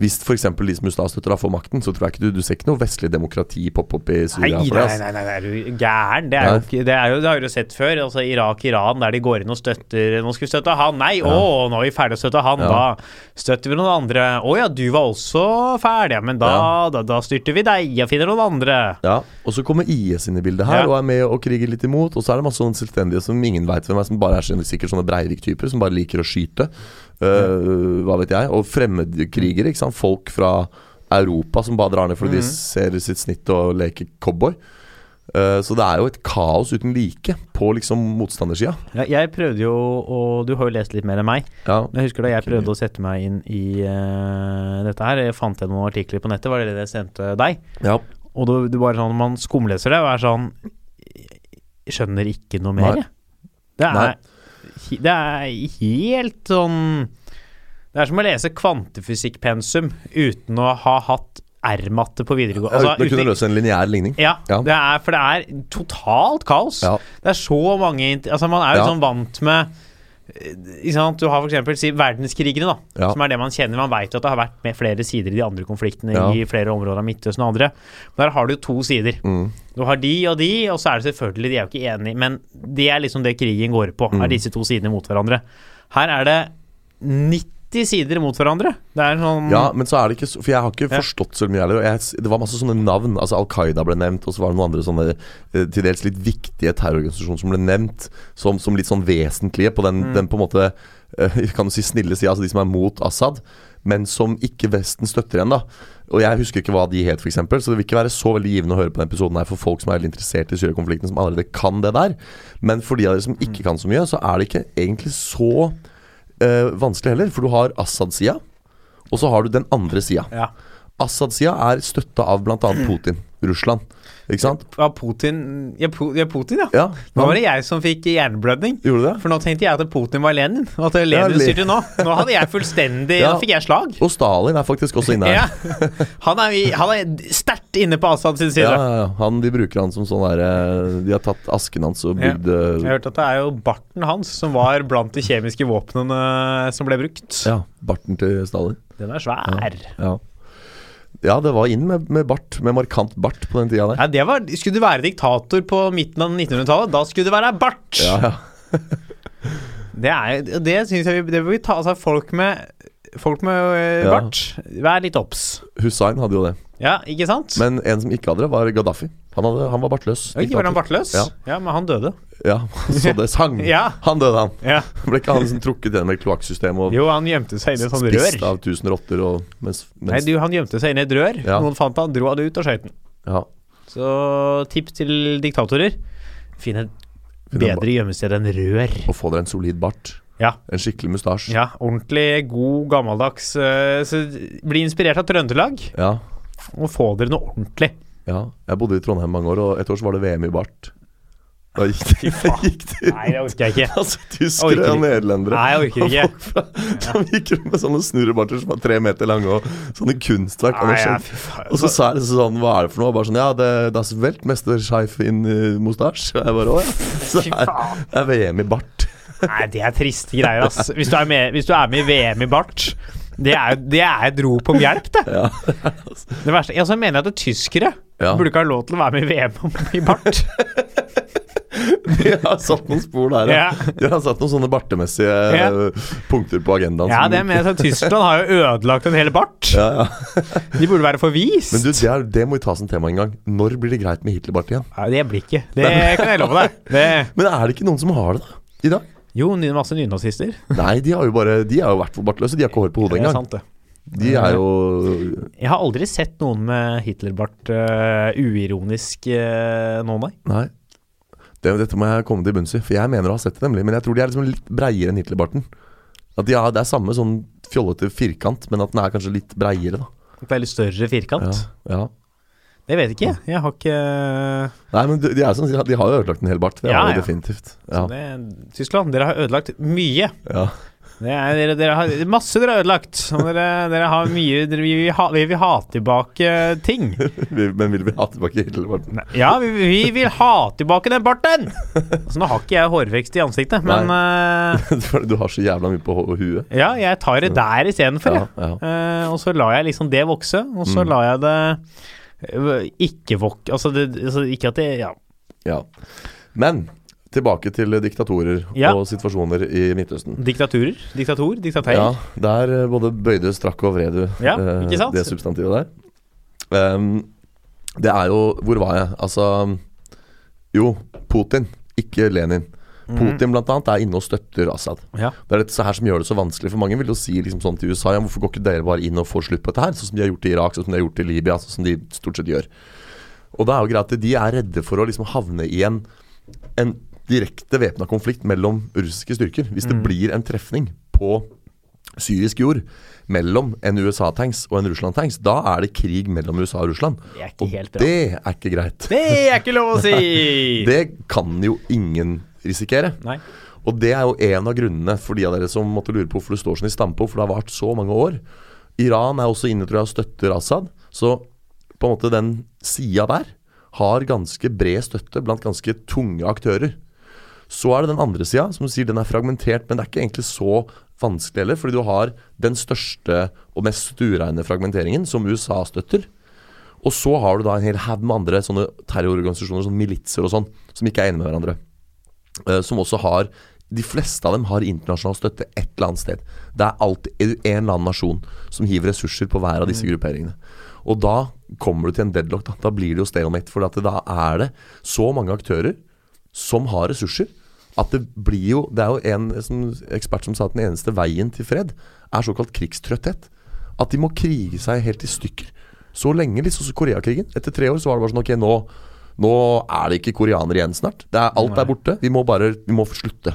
Speaker 2: hvis f.eks. de som USA støtter, da får makten, så tror jeg ikke du Du ser ikke noe vestlig demokrati poppe opp i
Speaker 1: Nei,
Speaker 2: Syria. for det,
Speaker 1: nei,
Speaker 2: ass.
Speaker 1: nei, nei, nei, er du gæren? Det, er
Speaker 2: Nei.
Speaker 1: jo, ikke- det, er jo, det har du sett før. Altså Irak, Iran, der de går inn og støtter Nå skal vi støtte han. Nei, å, nå er vi ferdig å støtte han.
Speaker 2: Ja.
Speaker 1: Da støtter vi noen andre. Å ja, du var også ferdig, ja, men da, da, da styrter vi deg og finner noen andre.
Speaker 2: Ja, Og så kommer IS inn i bildet her
Speaker 1: Ja.
Speaker 2: og er med og kriger litt imot. Og så er det masse sånne selvstendige som ingen veit hvem er, som bare er sånne- sikkert sånne Breivik-typer som bare liker å skyte. Øh, hva vet jeg. Og fremmedkrigere. ikke sant? Folk fra Europa som bare drar ned
Speaker 1: Mm.
Speaker 2: fordi de ser sitt snitt og leker cowboy. Øh, så det er jo et kaos uten like på liksom motstandersida.
Speaker 1: Ja, jeg prøvde jo, og du har jo lest litt mer enn meg.
Speaker 2: Ja.
Speaker 1: Men Jeg husker da jeg prøvde å sette meg inn i eh, dette her. Jeg fant igjen noen artikler på nettet, var det det jeg sendte deg?
Speaker 2: ja.
Speaker 1: Og det, det var sånn, man skumleser det og er sånn Jeg skjønner ikke noe mer,
Speaker 2: Nei.
Speaker 1: jeg. Det
Speaker 2: Nei.
Speaker 1: er, he- det er helt sånn Det er som å lese kvantefysikkpensum uten å ha hatt R-matte på videregående.
Speaker 2: Uten å
Speaker 1: Altså,
Speaker 2: kunne
Speaker 1: uten-
Speaker 2: løse en lineær ligning.
Speaker 1: ja,
Speaker 2: Ja.
Speaker 1: Det er, for det er totalt kaos.
Speaker 2: Ja.
Speaker 1: Det er så mange int- Altså Man er jo
Speaker 2: Ja.
Speaker 1: sånn vant med eh, ikke sant? Du har f.eks. Si, verdenskrigene, da,
Speaker 2: Ja.
Speaker 1: som er det man kjenner. Man vet jo at det har vært med flere sider i de andre konfliktene
Speaker 2: Ja.
Speaker 1: i flere områder av Midtøsten og andre. Der har du to sider.
Speaker 2: Mm.
Speaker 1: Du har de og de, og så er det selvfølgelig De er jo ikke enige, men det er liksom det krigen går på.
Speaker 2: Mm.
Speaker 1: Er disse to sidene mot hverandre. Her er det 90 sider mot hverandre. Det er sånn
Speaker 2: Ja, men så er det ikke så For jeg har ikke
Speaker 1: Ja.
Speaker 2: forstått så mye heller. og Jeg, det var masse sånne navn. Altså Al Qaida ble nevnt, og så var det noen andre sånne eh, til dels litt viktige terrororganisasjoner som ble nevnt som, som litt sånn vesentlige på den, den på en måte eh, [LAUGHS] Kan du si snille sida, altså de som er mot Assad, men som ikke Vesten støtter igjen, da. Og jeg husker ikke hva de het, f.eks., så det vil ikke være så veldig givende å høre på denne episoden her for folk som er veldig interessert i Syria-konflikten, som allerede kan det der. Men for de av dere som ikke kan så mye, så er det ikke egentlig så eh, vanskelig heller, for du har Assad-sida. Og så har du den andre sida.
Speaker 1: Ja.
Speaker 2: Assad-sida er støtta av bl.a. Putin, Russland. Ikke sant?
Speaker 1: Ja, Putin Ja, Pu- ja, Putin, ja.
Speaker 2: Ja,
Speaker 1: Nå var det jeg som fikk hjerneblødning.
Speaker 2: Gjorde du det?
Speaker 1: For nå tenkte jeg at Putin var Lenin, og at Lenin
Speaker 2: Ja, Le-
Speaker 1: styrte nå. Nå hadde jeg fullstendig
Speaker 2: [LAUGHS] Ja.
Speaker 1: Nå fikk jeg slag.
Speaker 2: Og Stalin er faktisk også inne
Speaker 1: Ja.
Speaker 2: her.
Speaker 1: Han er, i- han er sterkt inne på Assad sin
Speaker 2: Ja,
Speaker 1: side.
Speaker 2: ja, ja. Han, de bruker han som sånn derre De har tatt asken hans og
Speaker 1: Ja.
Speaker 2: bygd
Speaker 1: Jeg
Speaker 2: eh,
Speaker 1: hørte at det er jo barten hans som var blant de kjemiske våpnene som ble brukt.
Speaker 2: ja, barten til Stalin.
Speaker 1: Den er svær.
Speaker 2: Ja. ja, det var inn med, med bart. Med markant bart på den tida der.
Speaker 1: Ja, det var, skulle du være diktator på midten av 1900-tallet, da skulle du være bart!
Speaker 2: Ja, ja.
Speaker 1: Det, er, jo- det synes jeg vi, det bør vi ta altså, folk med Folk med øh,
Speaker 2: Ja.
Speaker 1: bart, vær litt obs.
Speaker 2: Hussein hadde jo det.
Speaker 1: Ja, ikke sant?
Speaker 2: Men en som ikke hadde det, var Gaddafi. Han, hadde, han var bartløs.
Speaker 1: Ja, ikke var han bartløs?
Speaker 2: Ja.
Speaker 1: ja, men han døde.
Speaker 2: Ja, [LAUGHS] så det sang.
Speaker 1: Ja.
Speaker 2: Han døde, han.
Speaker 1: Ja.
Speaker 2: [LAUGHS] Ble ikke han liksom trukket gjennom et kloakksystem og
Speaker 1: Jo, han gjemte seg inn i et sånt rør.
Speaker 2: spist av tusen rotter og mens,
Speaker 1: Nei,
Speaker 2: mens
Speaker 1: du, han gjemte seg inn i et rør.
Speaker 2: Ja.
Speaker 1: Noen fant han, dro han ut og skjøt den.
Speaker 2: ja.
Speaker 1: Så tipp til diktatorer Finn et
Speaker 2: Finn en
Speaker 1: bedre gjemmested enn rør.
Speaker 2: Og få dere en solid bart.
Speaker 1: Ja.
Speaker 2: En skikkelig mustasje.
Speaker 1: Ja, ordentlig god, gammeldags eh, Så bli inspirert av Trøndelag,
Speaker 2: Ja.
Speaker 1: og få dere noe ordentlig.
Speaker 2: ja. Jeg bodde i Trondheim mange år, og et år så var det VM i bart. Da gikk det, [LAUGHS] da gikk det
Speaker 1: Nei, det orker jeg ikke.
Speaker 2: Altså tyskere
Speaker 1: Orker
Speaker 2: og
Speaker 1: ikke.
Speaker 2: nederlendere
Speaker 1: Nei, jeg orker
Speaker 2: og [LAUGHS]
Speaker 1: ikke.
Speaker 2: folk fra, som gikk rundt med sånne snurrebarter som var tre meter lange, og sånne kunstverk.
Speaker 1: Nei, ja,
Speaker 2: og
Speaker 1: fy faen.
Speaker 2: og så sa jeg liksom sånn Hva er det for noe? Bare sånn Ja, det, det er så velt mester Scheif in eh, mustache. Og jeg bare Å ja. Så
Speaker 1: Fy
Speaker 2: er
Speaker 1: faen.
Speaker 2: det er VM i bart.
Speaker 1: Nei, det er triste greier, ass. Hvis du er med, hvis du er med i VM i bart, det er, jo- det er et rop om hjelp, det.
Speaker 2: Ja.
Speaker 1: Det verste, ja, så mener jeg at det er tyskere
Speaker 2: Ja. [LAUGHS] Altså,
Speaker 1: burde ikke ha lov til å være med i VM om- i bart.
Speaker 2: De har satt noen spor der, ja.
Speaker 1: Ja.
Speaker 2: De har satt noen sånne bartemessige
Speaker 1: Ja.
Speaker 2: eh, punkter på agendaen.
Speaker 1: Ja,
Speaker 2: som-
Speaker 1: det er med sånn Tyskland har jo ødelagt en hel bart.
Speaker 2: ja, ja.
Speaker 1: De burde være forvist.
Speaker 2: Men du, det, er, det må vi ta som tema en gang. Når blir det greit med Hitlerbart igjen?
Speaker 1: Nei, det blir ikke. Det kan jeg love deg. Det.
Speaker 2: Men er det ikke noen som har det, da?
Speaker 1: [LAUGHS]
Speaker 2: I dag?
Speaker 1: Jo, ny- masse nynazister.
Speaker 2: Nei, de har jo bare De er jo i hvert fall bartløse. De har ikke hår på
Speaker 1: Det
Speaker 2: hodet
Speaker 1: er
Speaker 2: engang.
Speaker 1: sant, det.
Speaker 2: De er jo
Speaker 1: Jeg har aldri sett noen med Hitlerbart eh, uironisk eh, nå, nei.
Speaker 2: Nei. Det, dette må jeg komme til bunns i, for jeg mener å ha sett det, nemlig. Men jeg tror de er liksom litt breiere enn Hitlerbarten. At de har, Det er samme sånn fjollete firkant, men at den er kanskje litt breiere, da.
Speaker 1: At det er litt større firkant.
Speaker 2: Ja, ja.
Speaker 1: Det vet jeg ikke. Jeg har ikke
Speaker 2: Nei, men de, de, er sånn, de har jo ødelagt en hel bart. Det
Speaker 1: Ja,
Speaker 2: har de
Speaker 1: ja.
Speaker 2: definitivt.
Speaker 1: så
Speaker 2: Ja,
Speaker 1: det, Tyskland, dere har ødelagt mye.
Speaker 2: ja. [LAUGHS]
Speaker 1: Det er, dere, dere har masse dere har ødelagt. Så Dere, dere har mye dere, vi, vil ha, vi vil ha tilbake ting.
Speaker 2: Vi- Men vil vi ha tilbake [LAUGHS] Hitlerbarten?
Speaker 1: Nei, Ja, vi, vi vil ha tilbake den barten! Altså, nå har ikke jeg hårvekst i ansiktet, men eh,
Speaker 2: For du har så jævla mye på ho- huet.
Speaker 1: ja, jeg tar det der istedenfor, jeg.
Speaker 2: Ja, ja.
Speaker 1: Eh, og så lar jeg liksom det vokse, og så
Speaker 2: Mm.
Speaker 1: lar jeg det eh, ikke vok... Altså, det, altså ikke at det Ja.
Speaker 2: ja. Men tilbake til diktatorer
Speaker 1: Ja.
Speaker 2: og situasjoner i Midtøsten.
Speaker 1: Diktaturer. Diktator. Diktateir.
Speaker 2: Ja, der eh, både bøyde, strakk og vred du
Speaker 1: Ja,
Speaker 2: eh,
Speaker 1: ikke sant?
Speaker 2: det substantivet der. Ehm, det er jo Hvor var jeg? Altså Jo, Putin, ikke Lenin.
Speaker 1: Mhm.
Speaker 2: Putin blant annet er inne og støtter Assad.
Speaker 1: Ja.
Speaker 2: Det er dette her som gjør det så vanskelig for mange. Vil jo si liksom sånn til USA ja, Hvorfor går ikke dere bare inn og får slutt på dette her? Sånn som de har gjort i Irak, sånn som de har gjort i Libya, sånn som de stort sett gjør. Og da er jo greit at de er redde for å liksom havne i en, en direkte væpna konflikt mellom russiske styrker. Hvis
Speaker 1: Mm.
Speaker 2: det blir en trefning på syrisk jord mellom en USA-tanks og en Russland-tanks, da er det krig mellom USA og Russland.
Speaker 1: Det er ikke
Speaker 2: Og
Speaker 1: helt bra.
Speaker 2: det er ikke greit.
Speaker 1: Det er ikke lov å si!
Speaker 2: Det kan jo ingen risikere.
Speaker 1: Nei.
Speaker 2: Og det er jo en av grunnene for de av dere som måtte lure på hvorfor det står sånn i stampe, for det har vart så mange år. Iran er også inne, tror jeg, og støtter Assad. Så på en måte den sida der har ganske bred støtte blant ganske tunge aktører. Så er det den andre sida, som du sier den er fragmentert, men det er ikke egentlig så vanskelig heller, fordi du har den største og mest stuereine fragmenteringen, som USA støtter. Og så har du da en hel haug med andre sånne terrororganisasjoner, sånn militser og sånn, som ikke er enige med hverandre. Eh, som også har De fleste av dem har internasjonal støtte et eller annet sted. Det er alltid en eller annen nasjon som hiver ressurser på hver av disse grupperingene. Og da kommer du til en deadlock. Da, da blir det jo stalemate. For at det, da er det så mange aktører som har ressurser, at det blir jo Det er jo en som ekspert som sa at den eneste veien til fred er såkalt krigstrøtthet. At de må krige seg helt i stykker. Så lenge, liksom som Koreakrigen. Etter tre år så var det bare sånn Ok, nå, nå er det ikke koreanere igjen snart. Det er, alt er borte. Vi må bare Vi må slutte.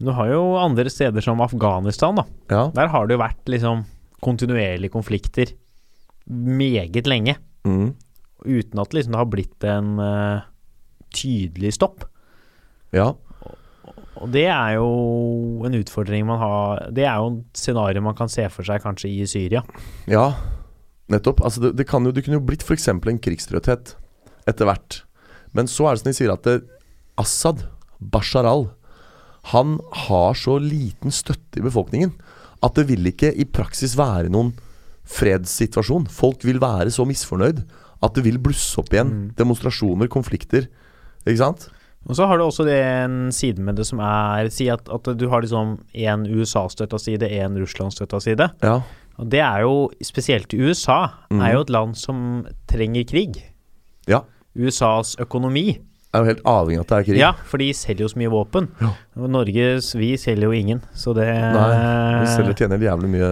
Speaker 1: Du har jo andre steder som Afghanistan, da.
Speaker 2: Ja.
Speaker 1: Der har det jo vært liksom kontinuerlige konflikter meget lenge.
Speaker 2: Mm.
Speaker 1: Uten at liksom, det har blitt en eh, tydelig stopp.
Speaker 2: ja.
Speaker 1: Og det er jo en utfordring man har Det er jo et scenario man kan se for seg kanskje i Syria.
Speaker 2: Ja, nettopp. Altså det, det, kan jo, det kunne jo blitt f.eks. en krigstrøtthet etter hvert. Men så er det som de sier at det, Assad, Bashar al, han har så liten støtte i befolkningen at det vil ikke i praksis være noen fredssituasjon. Folk vil være så misfornøyd at det vil blusse opp igjen.
Speaker 1: Mm.
Speaker 2: Demonstrasjoner, konflikter. Ikke sant?
Speaker 1: Og så har du også det en side med det som er Si at, at du har liksom én USA-støtta side, én Russland-støtta side.
Speaker 2: Ja.
Speaker 1: Og det er jo spesielt i USA. Er jo et land som trenger krig.
Speaker 2: ja.
Speaker 1: USAs økonomi.
Speaker 2: Er jo helt avhengig av at det er krig.
Speaker 1: Ja, for de selger jo så mye våpen.
Speaker 2: Ja.
Speaker 1: Og Norge vi selger jo ingen, så det
Speaker 2: Nei, vi selger tjener jævlig mye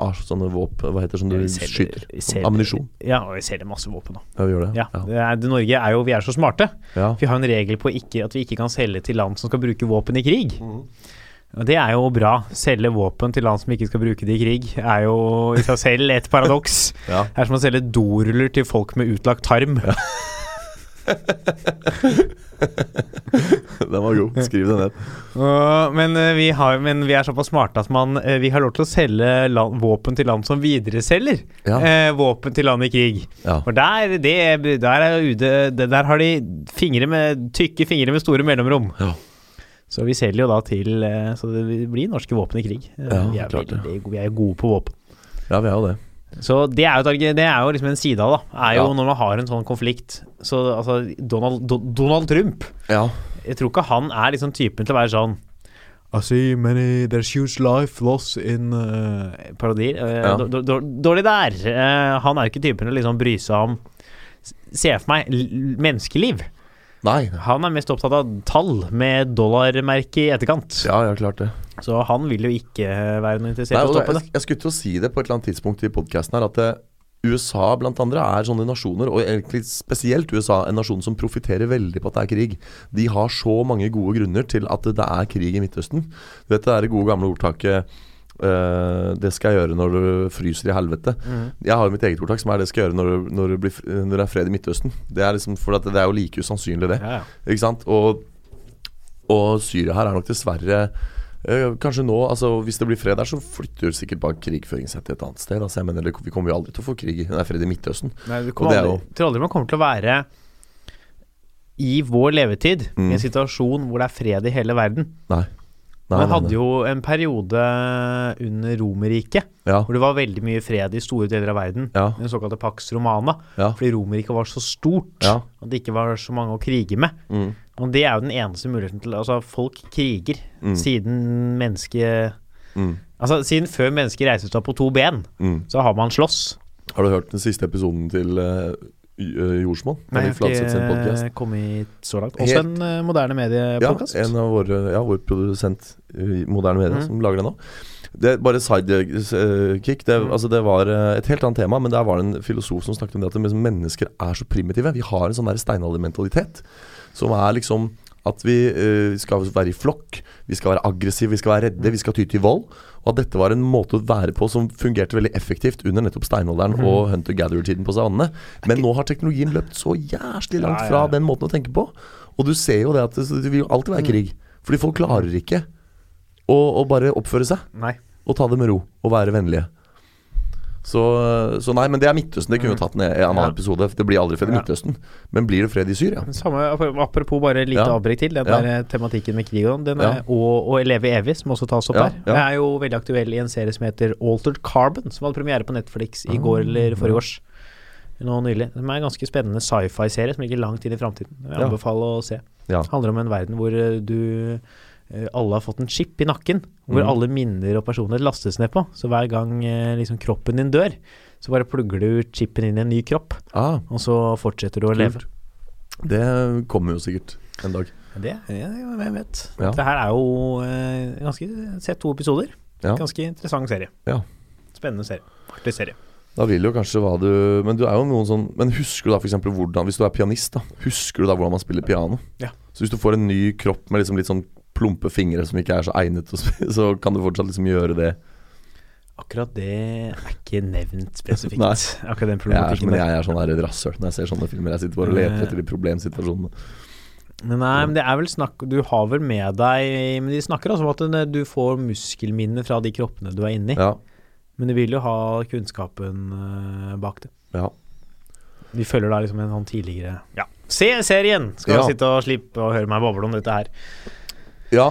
Speaker 2: av sånne våpen Hva heter det som du
Speaker 1: Eh. Vi selger-
Speaker 2: skyter?
Speaker 1: vi selger-
Speaker 2: Ammunisjon.
Speaker 1: Ja, og vi selger masse våpen, da.
Speaker 2: Ja, vi gjør det.
Speaker 1: Ja. Det er, det, Norge er jo Vi er så smarte.
Speaker 2: Ja.
Speaker 1: Vi har en regel på ikke, at vi ikke kan selge til land som skal bruke våpen i krig.
Speaker 2: Mhm.
Speaker 1: Og det er jo bra. Selge våpen til land som ikke skal bruke det i krig, er jo i seg selv et paradoks.
Speaker 2: Ja.
Speaker 1: Det er som å selge doruller til folk med utlagt tarm.
Speaker 2: [LAUGHS] Den var god. Skriv den ned.
Speaker 1: Åh, men, eh, vi har, men vi er såpass smarte at man, eh, vi har lov til å selge land, våpen til land som videreselger
Speaker 2: Ja.
Speaker 1: eh, våpen til land i krig.
Speaker 2: Ja.
Speaker 1: For der, det, der, er UD, det- der har de fingre med, tykke fingre med store mellomrom.
Speaker 2: Ja.
Speaker 1: Så vi selger jo da til eh, Så det blir norske våpen i krig. Eh,
Speaker 2: Ja,
Speaker 1: vi, er
Speaker 2: klart det.
Speaker 1: veldig, gode- vi er gode på våpen.
Speaker 2: ja, vi er jo det.
Speaker 1: Så det er, jo, et arg- det er jo liksom en side av det. da. Er jo
Speaker 2: Ja.
Speaker 1: Når man har en sånn konflikt Så altså, Donald, Do, Donald Trump
Speaker 2: Ja.
Speaker 1: Jeg tror ikke han er liksom typen til å være sånn I see many There's huge life loss in eh, Parodier. eh,
Speaker 2: Ja.
Speaker 1: dår- dår- Dårlig der. Eh, han er jo ikke typen til å liksom bry seg om s- Se for meg l- menneskeliv.
Speaker 2: Nei.
Speaker 1: Han er mest opptatt av tall med dollarmerke i etterkant.
Speaker 2: Ja, ja, klart det.
Speaker 1: Så han vil jo ikke eh, være noe interessert
Speaker 2: Nei,
Speaker 1: i å
Speaker 2: og
Speaker 1: stoppe
Speaker 2: da,
Speaker 1: det.
Speaker 2: jeg, jeg skulle til å si det på et eller annet tidspunkt i podkasten her, at eh, USA blant andre er sånne nasjoner, og egentlig spesielt USA, en nasjon som profitterer veldig på at det er krig. De har så mange gode grunner til at det er krig i Midtøsten. Du vet det der gode gamle ordtaket eh, det skal jeg gjøre når du fryser i helvete. Jeg har jo mitt eget ordtak som er 'det skal jeg gjøre når, det- når, det, blir, f- når det er fred i Midtøsten'. Det er liksom, for at det er jo like usannsynlig, det.
Speaker 1: Ja, ja.
Speaker 2: Ikke sant? Og, og Syria her er nok dessverre eh, Kanskje nå, altså hvis det blir fred der, så flytter sikkert bare krigføring seg til et annet sted. Altså, jeg mener, det- Vi kommer jo aldri til å få krig Nei, fred i Midtøsten.
Speaker 1: Nei, det
Speaker 2: Og
Speaker 1: kommer
Speaker 2: det er
Speaker 1: aldri, tror aldri man kommer til å være i vår levetid i en situasjon hvor det er fred i hele verden.
Speaker 2: Nei. Mm. Nei,
Speaker 1: Man
Speaker 2: nei,
Speaker 1: hadde
Speaker 2: nei.
Speaker 1: jo en periode under Romerriket
Speaker 2: Ja.
Speaker 1: hvor det var veldig mye fred i store deler av verden.
Speaker 2: Ja.
Speaker 1: Den såkalte Pax Romana.
Speaker 2: Ja.
Speaker 1: Fordi Romerriket var så stort
Speaker 2: Ja.
Speaker 1: at det ikke var så mange å krige med.
Speaker 2: Mm.
Speaker 1: Og det er jo den eneste muligheten til Altså, folk kriger siden mennesket
Speaker 2: Mm.
Speaker 1: Altså, siden før mennesket reiser seg på to ben,
Speaker 2: Mm.
Speaker 1: så har man slåss.
Speaker 2: Har du hørt den siste episoden til eh, J- eh, Jordsmonn?
Speaker 1: Nei,
Speaker 2: Henrik Fladseth sin
Speaker 1: jeg har
Speaker 2: podcast.
Speaker 1: ikke kommet så langt.
Speaker 2: Helt-
Speaker 1: Også en eh, moderne
Speaker 2: Ja,
Speaker 1: mediepodkast.
Speaker 2: en av våre, ja, vår produsent i moderne media som lager det nå. Det er Bare sidekick. Det, altså, det var eh, et helt annet tema, men der var det en filosof som snakket om det at liksom mennesker er så primitive. Vi har en sånn der steinaldermentalitet som er liksom at vi eh, skal være i flokk, vi skal være aggressive, vi skal være redde, vi skal ty til vold. Og at dette var en måte å være på som fungerte veldig effektivt under nettopp
Speaker 1: Mhm.
Speaker 2: steinalderen og hunter-gatherer-tiden på savannene. Men nå har teknologien løpt så jæslig langt
Speaker 1: Ja, ja,
Speaker 2: fra
Speaker 1: ja.
Speaker 2: den måten å tenke på. Og du ser jo det at det, det vil jo alltid
Speaker 1: Mm.
Speaker 2: være krig. Fordi folk klarer ikke å, å bare oppføre seg
Speaker 1: Nei.
Speaker 2: og ta det med ro og være vennlige. Så, så nei, men det er Midtøsten. Det kunne vi tatt en, en annen
Speaker 1: Mm. Ja.
Speaker 2: episode. Det blir aldri fred i
Speaker 1: Ja. Mm.
Speaker 2: Midtøsten. Men blir det fred i Syria?
Speaker 1: Samme, ap- apropos bare et lite
Speaker 2: Ja.
Speaker 1: avbrekk til, den
Speaker 2: Ja.
Speaker 1: der eh, tematikken med krig og sånn, den
Speaker 2: Ja.
Speaker 1: er, og, og Leve evig, som også tas opp
Speaker 2: Ja,
Speaker 1: her.
Speaker 2: ja.
Speaker 1: Det er jo veldig aktuell i en serie som heter Altered Carbon, som hadde premiere på Netflix i går
Speaker 2: Ah.
Speaker 1: eller forrige års. Nå nylig. Den er en ganske spennende sci-fi-serie som ligger langt inn i framtiden. Jeg
Speaker 2: Ja.
Speaker 1: anbefaler å se.
Speaker 2: Ja.
Speaker 1: handler om en verden hvor eh, du eh, alle har fått en chip i nakken, hvor
Speaker 2: Mhm.
Speaker 1: alle minner og personer lastes ned på. Så hver gang eh, liksom, kroppen din dør, så bare plugger du chipen inn i en ny kropp,
Speaker 2: Ah,
Speaker 1: og så fortsetter du å leve.
Speaker 2: kult. Det kommer jo sikkert en dag.
Speaker 1: Det ja, hvem vet.
Speaker 2: Ja.
Speaker 1: Det her er jo eh, ganske sett to episoder.
Speaker 2: Ja.
Speaker 1: Ganske interessant serie.
Speaker 2: Ja.
Speaker 1: Spennende serie. Artig serie.
Speaker 2: Da vil jo kanskje hva du Men du er jo noen sånn Men husker du da for eksempel hvordan Hvis du er pianist, da husker du da hvordan man spiller piano?
Speaker 1: Ja.
Speaker 2: Så hvis du får en ny kropp med liksom litt sånn plumpe fingre som ikke er så egnet, til å spille, [LAUGHS] så kan du fortsatt liksom gjøre det.
Speaker 1: Akkurat det er ikke nevnt spesifikt.
Speaker 2: [LAUGHS] Nei.
Speaker 1: Akkurat den
Speaker 2: Jeg er,
Speaker 1: problematikken.
Speaker 2: men
Speaker 1: der.
Speaker 2: jeg er sånn her et rasshøl når jeg ser sånne filmer. Jeg sitter bare og leter etter de problemsituasjonene.
Speaker 1: Men nei, men det er vel snakk Du har vel med deg Men de snakker altså om at den- du får muskelminner fra de kroppene du er inni.
Speaker 2: Ja.
Speaker 1: Men du vil jo ha kunnskapen eh, bak det.
Speaker 2: ja.
Speaker 1: Vi følger da liksom en sånn tidligere Ja. Se serien! Skal
Speaker 2: Ja.
Speaker 1: sitte og slippe å høre meg boble om dette her.
Speaker 2: ja.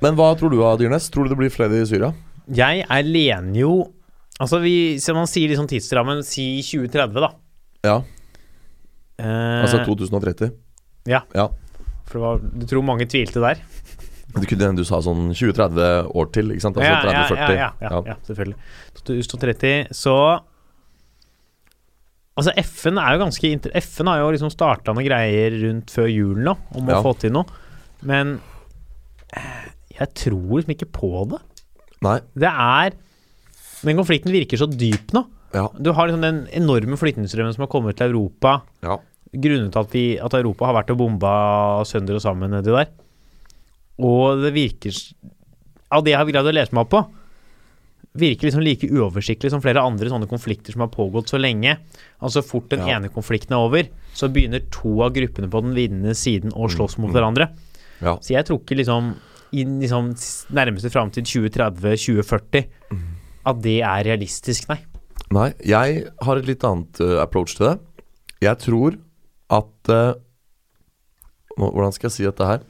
Speaker 2: Men hva tror du av Dyrnes? Tror du det blir fred i Syria?
Speaker 1: Jeg er lener jo Altså, vi, så man sier liksom tidsrammen Si 2030, da.
Speaker 2: Ja.
Speaker 1: Eh,
Speaker 2: Altså 2030?
Speaker 1: ja.
Speaker 2: Ja.
Speaker 1: For det var, du tror mange tvilte der?
Speaker 2: Det kunne hende du sa sånn 20-30 år til, ikke sant? Altså 30-40.
Speaker 1: ja, ja, ja, ja, selvfølgelig. 2030, så Altså, FN er jo ganske inter FN har jo liksom starta noen greier rundt før jul nå, om å
Speaker 2: Ja.
Speaker 1: få til noe. Men eh, jeg tror liksom ikke på det.
Speaker 2: Nei.
Speaker 1: Det er Den konflikten virker så dyp nå.
Speaker 2: Ja.
Speaker 1: Du har liksom den enorme flyktningstrømmen som har kommet til Europa
Speaker 2: Ja.
Speaker 1: grunnet at, vi, at Europa har vært og bomba sønder og sammen nedi der. Og det virker s- Av det jeg har greid å lese meg opp på, virker liksom like uoversiktlig som flere andre sånne konflikter som har pågått så lenge. Altså fort den
Speaker 2: Ja.
Speaker 1: ene konflikten er over, så begynner to av gruppene på den vinnende siden å slåss mot hverandre.
Speaker 2: Ja.
Speaker 1: Så jeg tror ikke liksom i liksom s- nærmeste framtid, 2030-2040, at det er realistisk, nei.
Speaker 2: Nei, jeg har et litt annet eh, approach til det. Jeg tror at eh, nå, Hvordan skal jeg si dette her?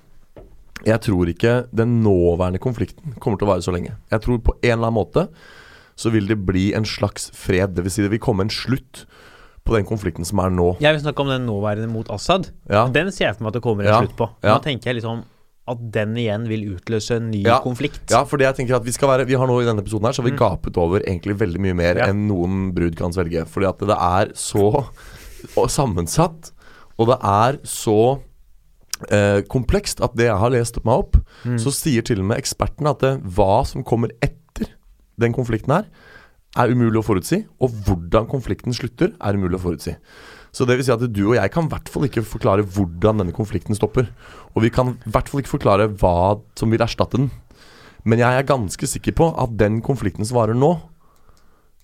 Speaker 2: Jeg tror ikke den nåværende konflikten kommer til å vare så lenge. Jeg tror på en eller annen måte så vil det bli en slags fred. Det vil si det vil komme en slutt på den konflikten som er nå.
Speaker 1: Jeg vil snakke om den nåværende mot Assad.
Speaker 2: Ja.
Speaker 1: Den ser jeg for meg at det kommer en
Speaker 2: Ja,
Speaker 1: slutt på.
Speaker 2: ja.
Speaker 1: Da tenker jeg liksom at den igjen vil utløse en ny
Speaker 2: Ja,
Speaker 1: konflikt. Mm.
Speaker 2: Ja, for det jeg tenker at vi skal være Vi har nå i denne episoden her Så har vi gapet over egentlig veldig mye mer
Speaker 1: Ja.
Speaker 2: Enn noen brud kan svelge Fordi at det er så og sammensatt Og det er så eh, komplekst At det jeg har lest meg opp
Speaker 1: Mm.
Speaker 2: Så sier til og med ekspertene at det, Hva som kommer etter den konflikten her Er umulig å forutsi Og hvordan konflikten slutter Er umulig å forutsi så det vil si at du og jeg kan i hvert fall ikke forklare hvordan denne konflikten stopper. Og vi kan i hvert fall ikke forklare hva som vil erstatte den. Men jeg er ganske sikker på at den konflikten som varer nå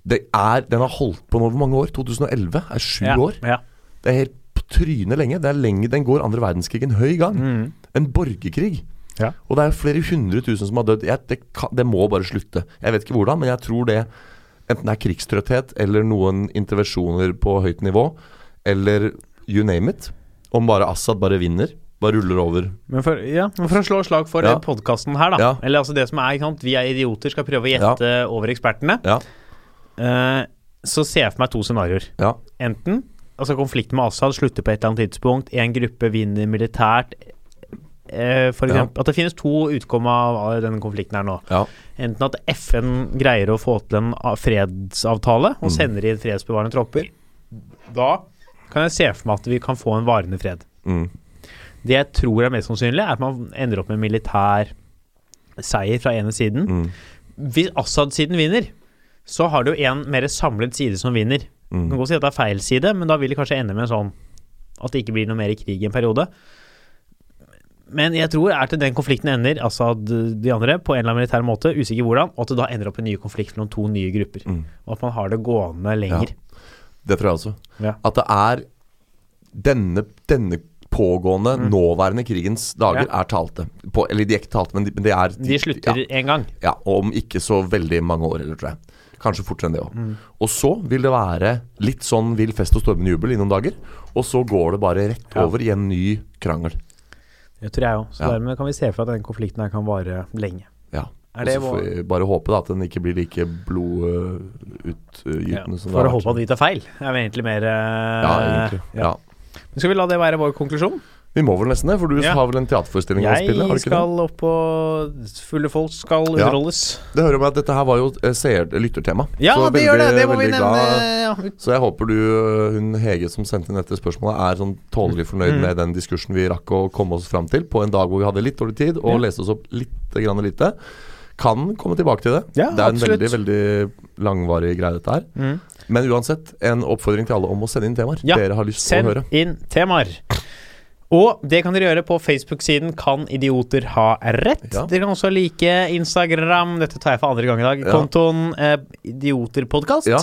Speaker 2: det er, Den har holdt på nå hvor mange år? 2011? Er sju
Speaker 1: Ja,
Speaker 2: år?
Speaker 1: Ja.
Speaker 2: Det er helt på trynet lenge. Det er lenge den går andre verdenskrig en høy gang. En borgerkrig.
Speaker 1: Mm. Ja.
Speaker 2: Og det er flere hundre tusen som har dødd. Jeg, det, kan, det må bare slutte. Jeg vet ikke hvordan, men jeg tror det enten det er krigstrøtthet eller noen intervensjoner på høyt nivå, eller you name it. Om bare Assad bare vinner, bare ruller over.
Speaker 1: Men for, ja, men for å slå slag for
Speaker 2: Ja.
Speaker 1: ja. podkasten her, da.
Speaker 2: Ja.
Speaker 1: Eller altså det som er, ikke sant. Vi er idioter, skal prøve å gjette over ekspertene.
Speaker 2: Ja.
Speaker 1: Eh, så ser jeg for meg to scenarioer.
Speaker 2: Ja.
Speaker 1: Enten altså konflikten med Assad slutter på et eller annet tidspunkt, en gruppe vinner militært. eh, For
Speaker 2: Ja.
Speaker 1: eksempel, At det finnes to utkom av av denne konflikten her nå.
Speaker 2: Ja.
Speaker 1: Enten at FN greier å få til en a- fredsavtale og sender inn fredsbevarende tropper. Da kan jeg se for meg at vi kan få en varende fred.
Speaker 2: Mm.
Speaker 1: Det jeg tror er mest sannsynlig, er at man ender opp med militær seier fra ene siden.
Speaker 2: Mm.
Speaker 1: Hvis Assad-siden vinner, så har du en mer samlet side som vinner. Du kan
Speaker 2: Mm.
Speaker 1: godt si at det er feil side, men da vil det kanskje ende med en sånn at det ikke blir noe mer i krig i en periode. Men jeg tror er til den konflikten ender, altså at de andre, på en eller annen militær måte, usikker hvordan, og at det da ender opp en ny konflikt mellom to nye grupper.
Speaker 2: Mm.
Speaker 1: Og at man har det gående lenger.
Speaker 2: Det tror jeg også.
Speaker 1: Ja.
Speaker 2: At det er denne, denne pågående, nåværende krigens dager
Speaker 1: Mm. Ja.
Speaker 2: er talte. På, eller de er ikke talte, men de, men de er
Speaker 1: De slutter
Speaker 2: Ja,
Speaker 1: én gang.
Speaker 2: ja, og om ikke så veldig mange år, eller tror jeg. Kanskje fortere enn det òg.
Speaker 1: Mm.
Speaker 2: Og så vil det være litt sånn vill fest og stormende jubel i noen dager. Og så går det bare rett
Speaker 1: Ja.
Speaker 2: over i en ny krangel.
Speaker 1: Det tror jeg òg. Så
Speaker 2: Ja.
Speaker 1: dermed kan vi se for at den konflikten her kan vare lenge.
Speaker 2: Ja.
Speaker 1: Er
Speaker 2: Og så
Speaker 1: det
Speaker 2: får
Speaker 1: vår-
Speaker 2: vi bare håpe da at den ikke blir like blodutgytende
Speaker 1: Ja.
Speaker 2: som
Speaker 1: For å håpe at vi tar feil, er vi egentlig mer eh,
Speaker 2: Ja, egentlig.
Speaker 1: ja.
Speaker 2: Ja.
Speaker 1: Men Skal vi la det være vår konklusjon?
Speaker 2: Vi må vel nesten det, for du
Speaker 1: Ja.
Speaker 2: har vel en teaterforestilling å
Speaker 1: Jeg
Speaker 2: spille? har du ikke det?
Speaker 1: skal opp og Fulle folk skal
Speaker 2: Ja.
Speaker 1: underholdes.
Speaker 2: Det hører med at dette her var jo eh, seer, lyttertema.
Speaker 1: Ja,
Speaker 2: Så
Speaker 1: det gjør det!
Speaker 2: veldig-
Speaker 1: Det må vi
Speaker 2: veldig
Speaker 1: nevne.
Speaker 2: glad.
Speaker 1: Ja,
Speaker 2: Så jeg håper du, eh, hun Hege som sendte inn dette spørsmålet, er sånn tålelig fornøyd
Speaker 1: Mm.
Speaker 2: med den diskursen vi rakk å komme oss fram til på en dag hvor vi hadde litt dårlig tid og
Speaker 1: Ja.
Speaker 2: leste oss opp litt grann lite. Kan komme tilbake til det.
Speaker 1: Ja,
Speaker 2: det er en
Speaker 1: absolutt.
Speaker 2: veldig veldig langvarig greie, dette her.
Speaker 1: Mm.
Speaker 2: Men uansett, en oppfordring til alle om å sende inn temaer
Speaker 1: Ja,
Speaker 2: dere har lyst til å
Speaker 1: Send
Speaker 2: høre.
Speaker 1: inn temaer. Og det kan dere gjøre på Facebook-siden Kan idioter ha rett?
Speaker 2: Ja.
Speaker 1: Dere kan også like Instagram, dette tar jeg for andre gang i dag,
Speaker 2: Ja.
Speaker 1: kontoen eh, Idioterpodkast.
Speaker 2: Ja.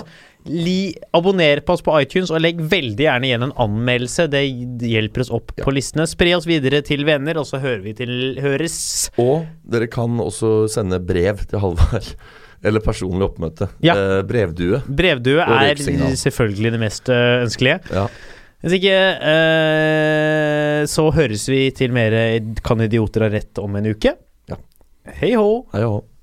Speaker 1: Li, abonner på oss på iTunes, og legg veldig gjerne igjen en anmeldelse. Det hjelper oss opp
Speaker 2: Ja.
Speaker 1: på listene. Spre oss videre til venner, og så hører vi til høres.
Speaker 2: Og dere kan også sende brev til Halvard. [LAUGHS] Eller personlig oppmøte.
Speaker 1: Ja.
Speaker 2: Eh, brevdue.
Speaker 1: Brevdue
Speaker 2: Og
Speaker 1: er
Speaker 2: røyksignal.
Speaker 1: selvfølgelig det mest eh, ønskelige.
Speaker 2: Ja.
Speaker 1: Hvis ikke, eh, så høres vi til mer Kan idioter ha rett om en uke.
Speaker 2: Ja.
Speaker 1: Hei hå!
Speaker 2: Hei og hå.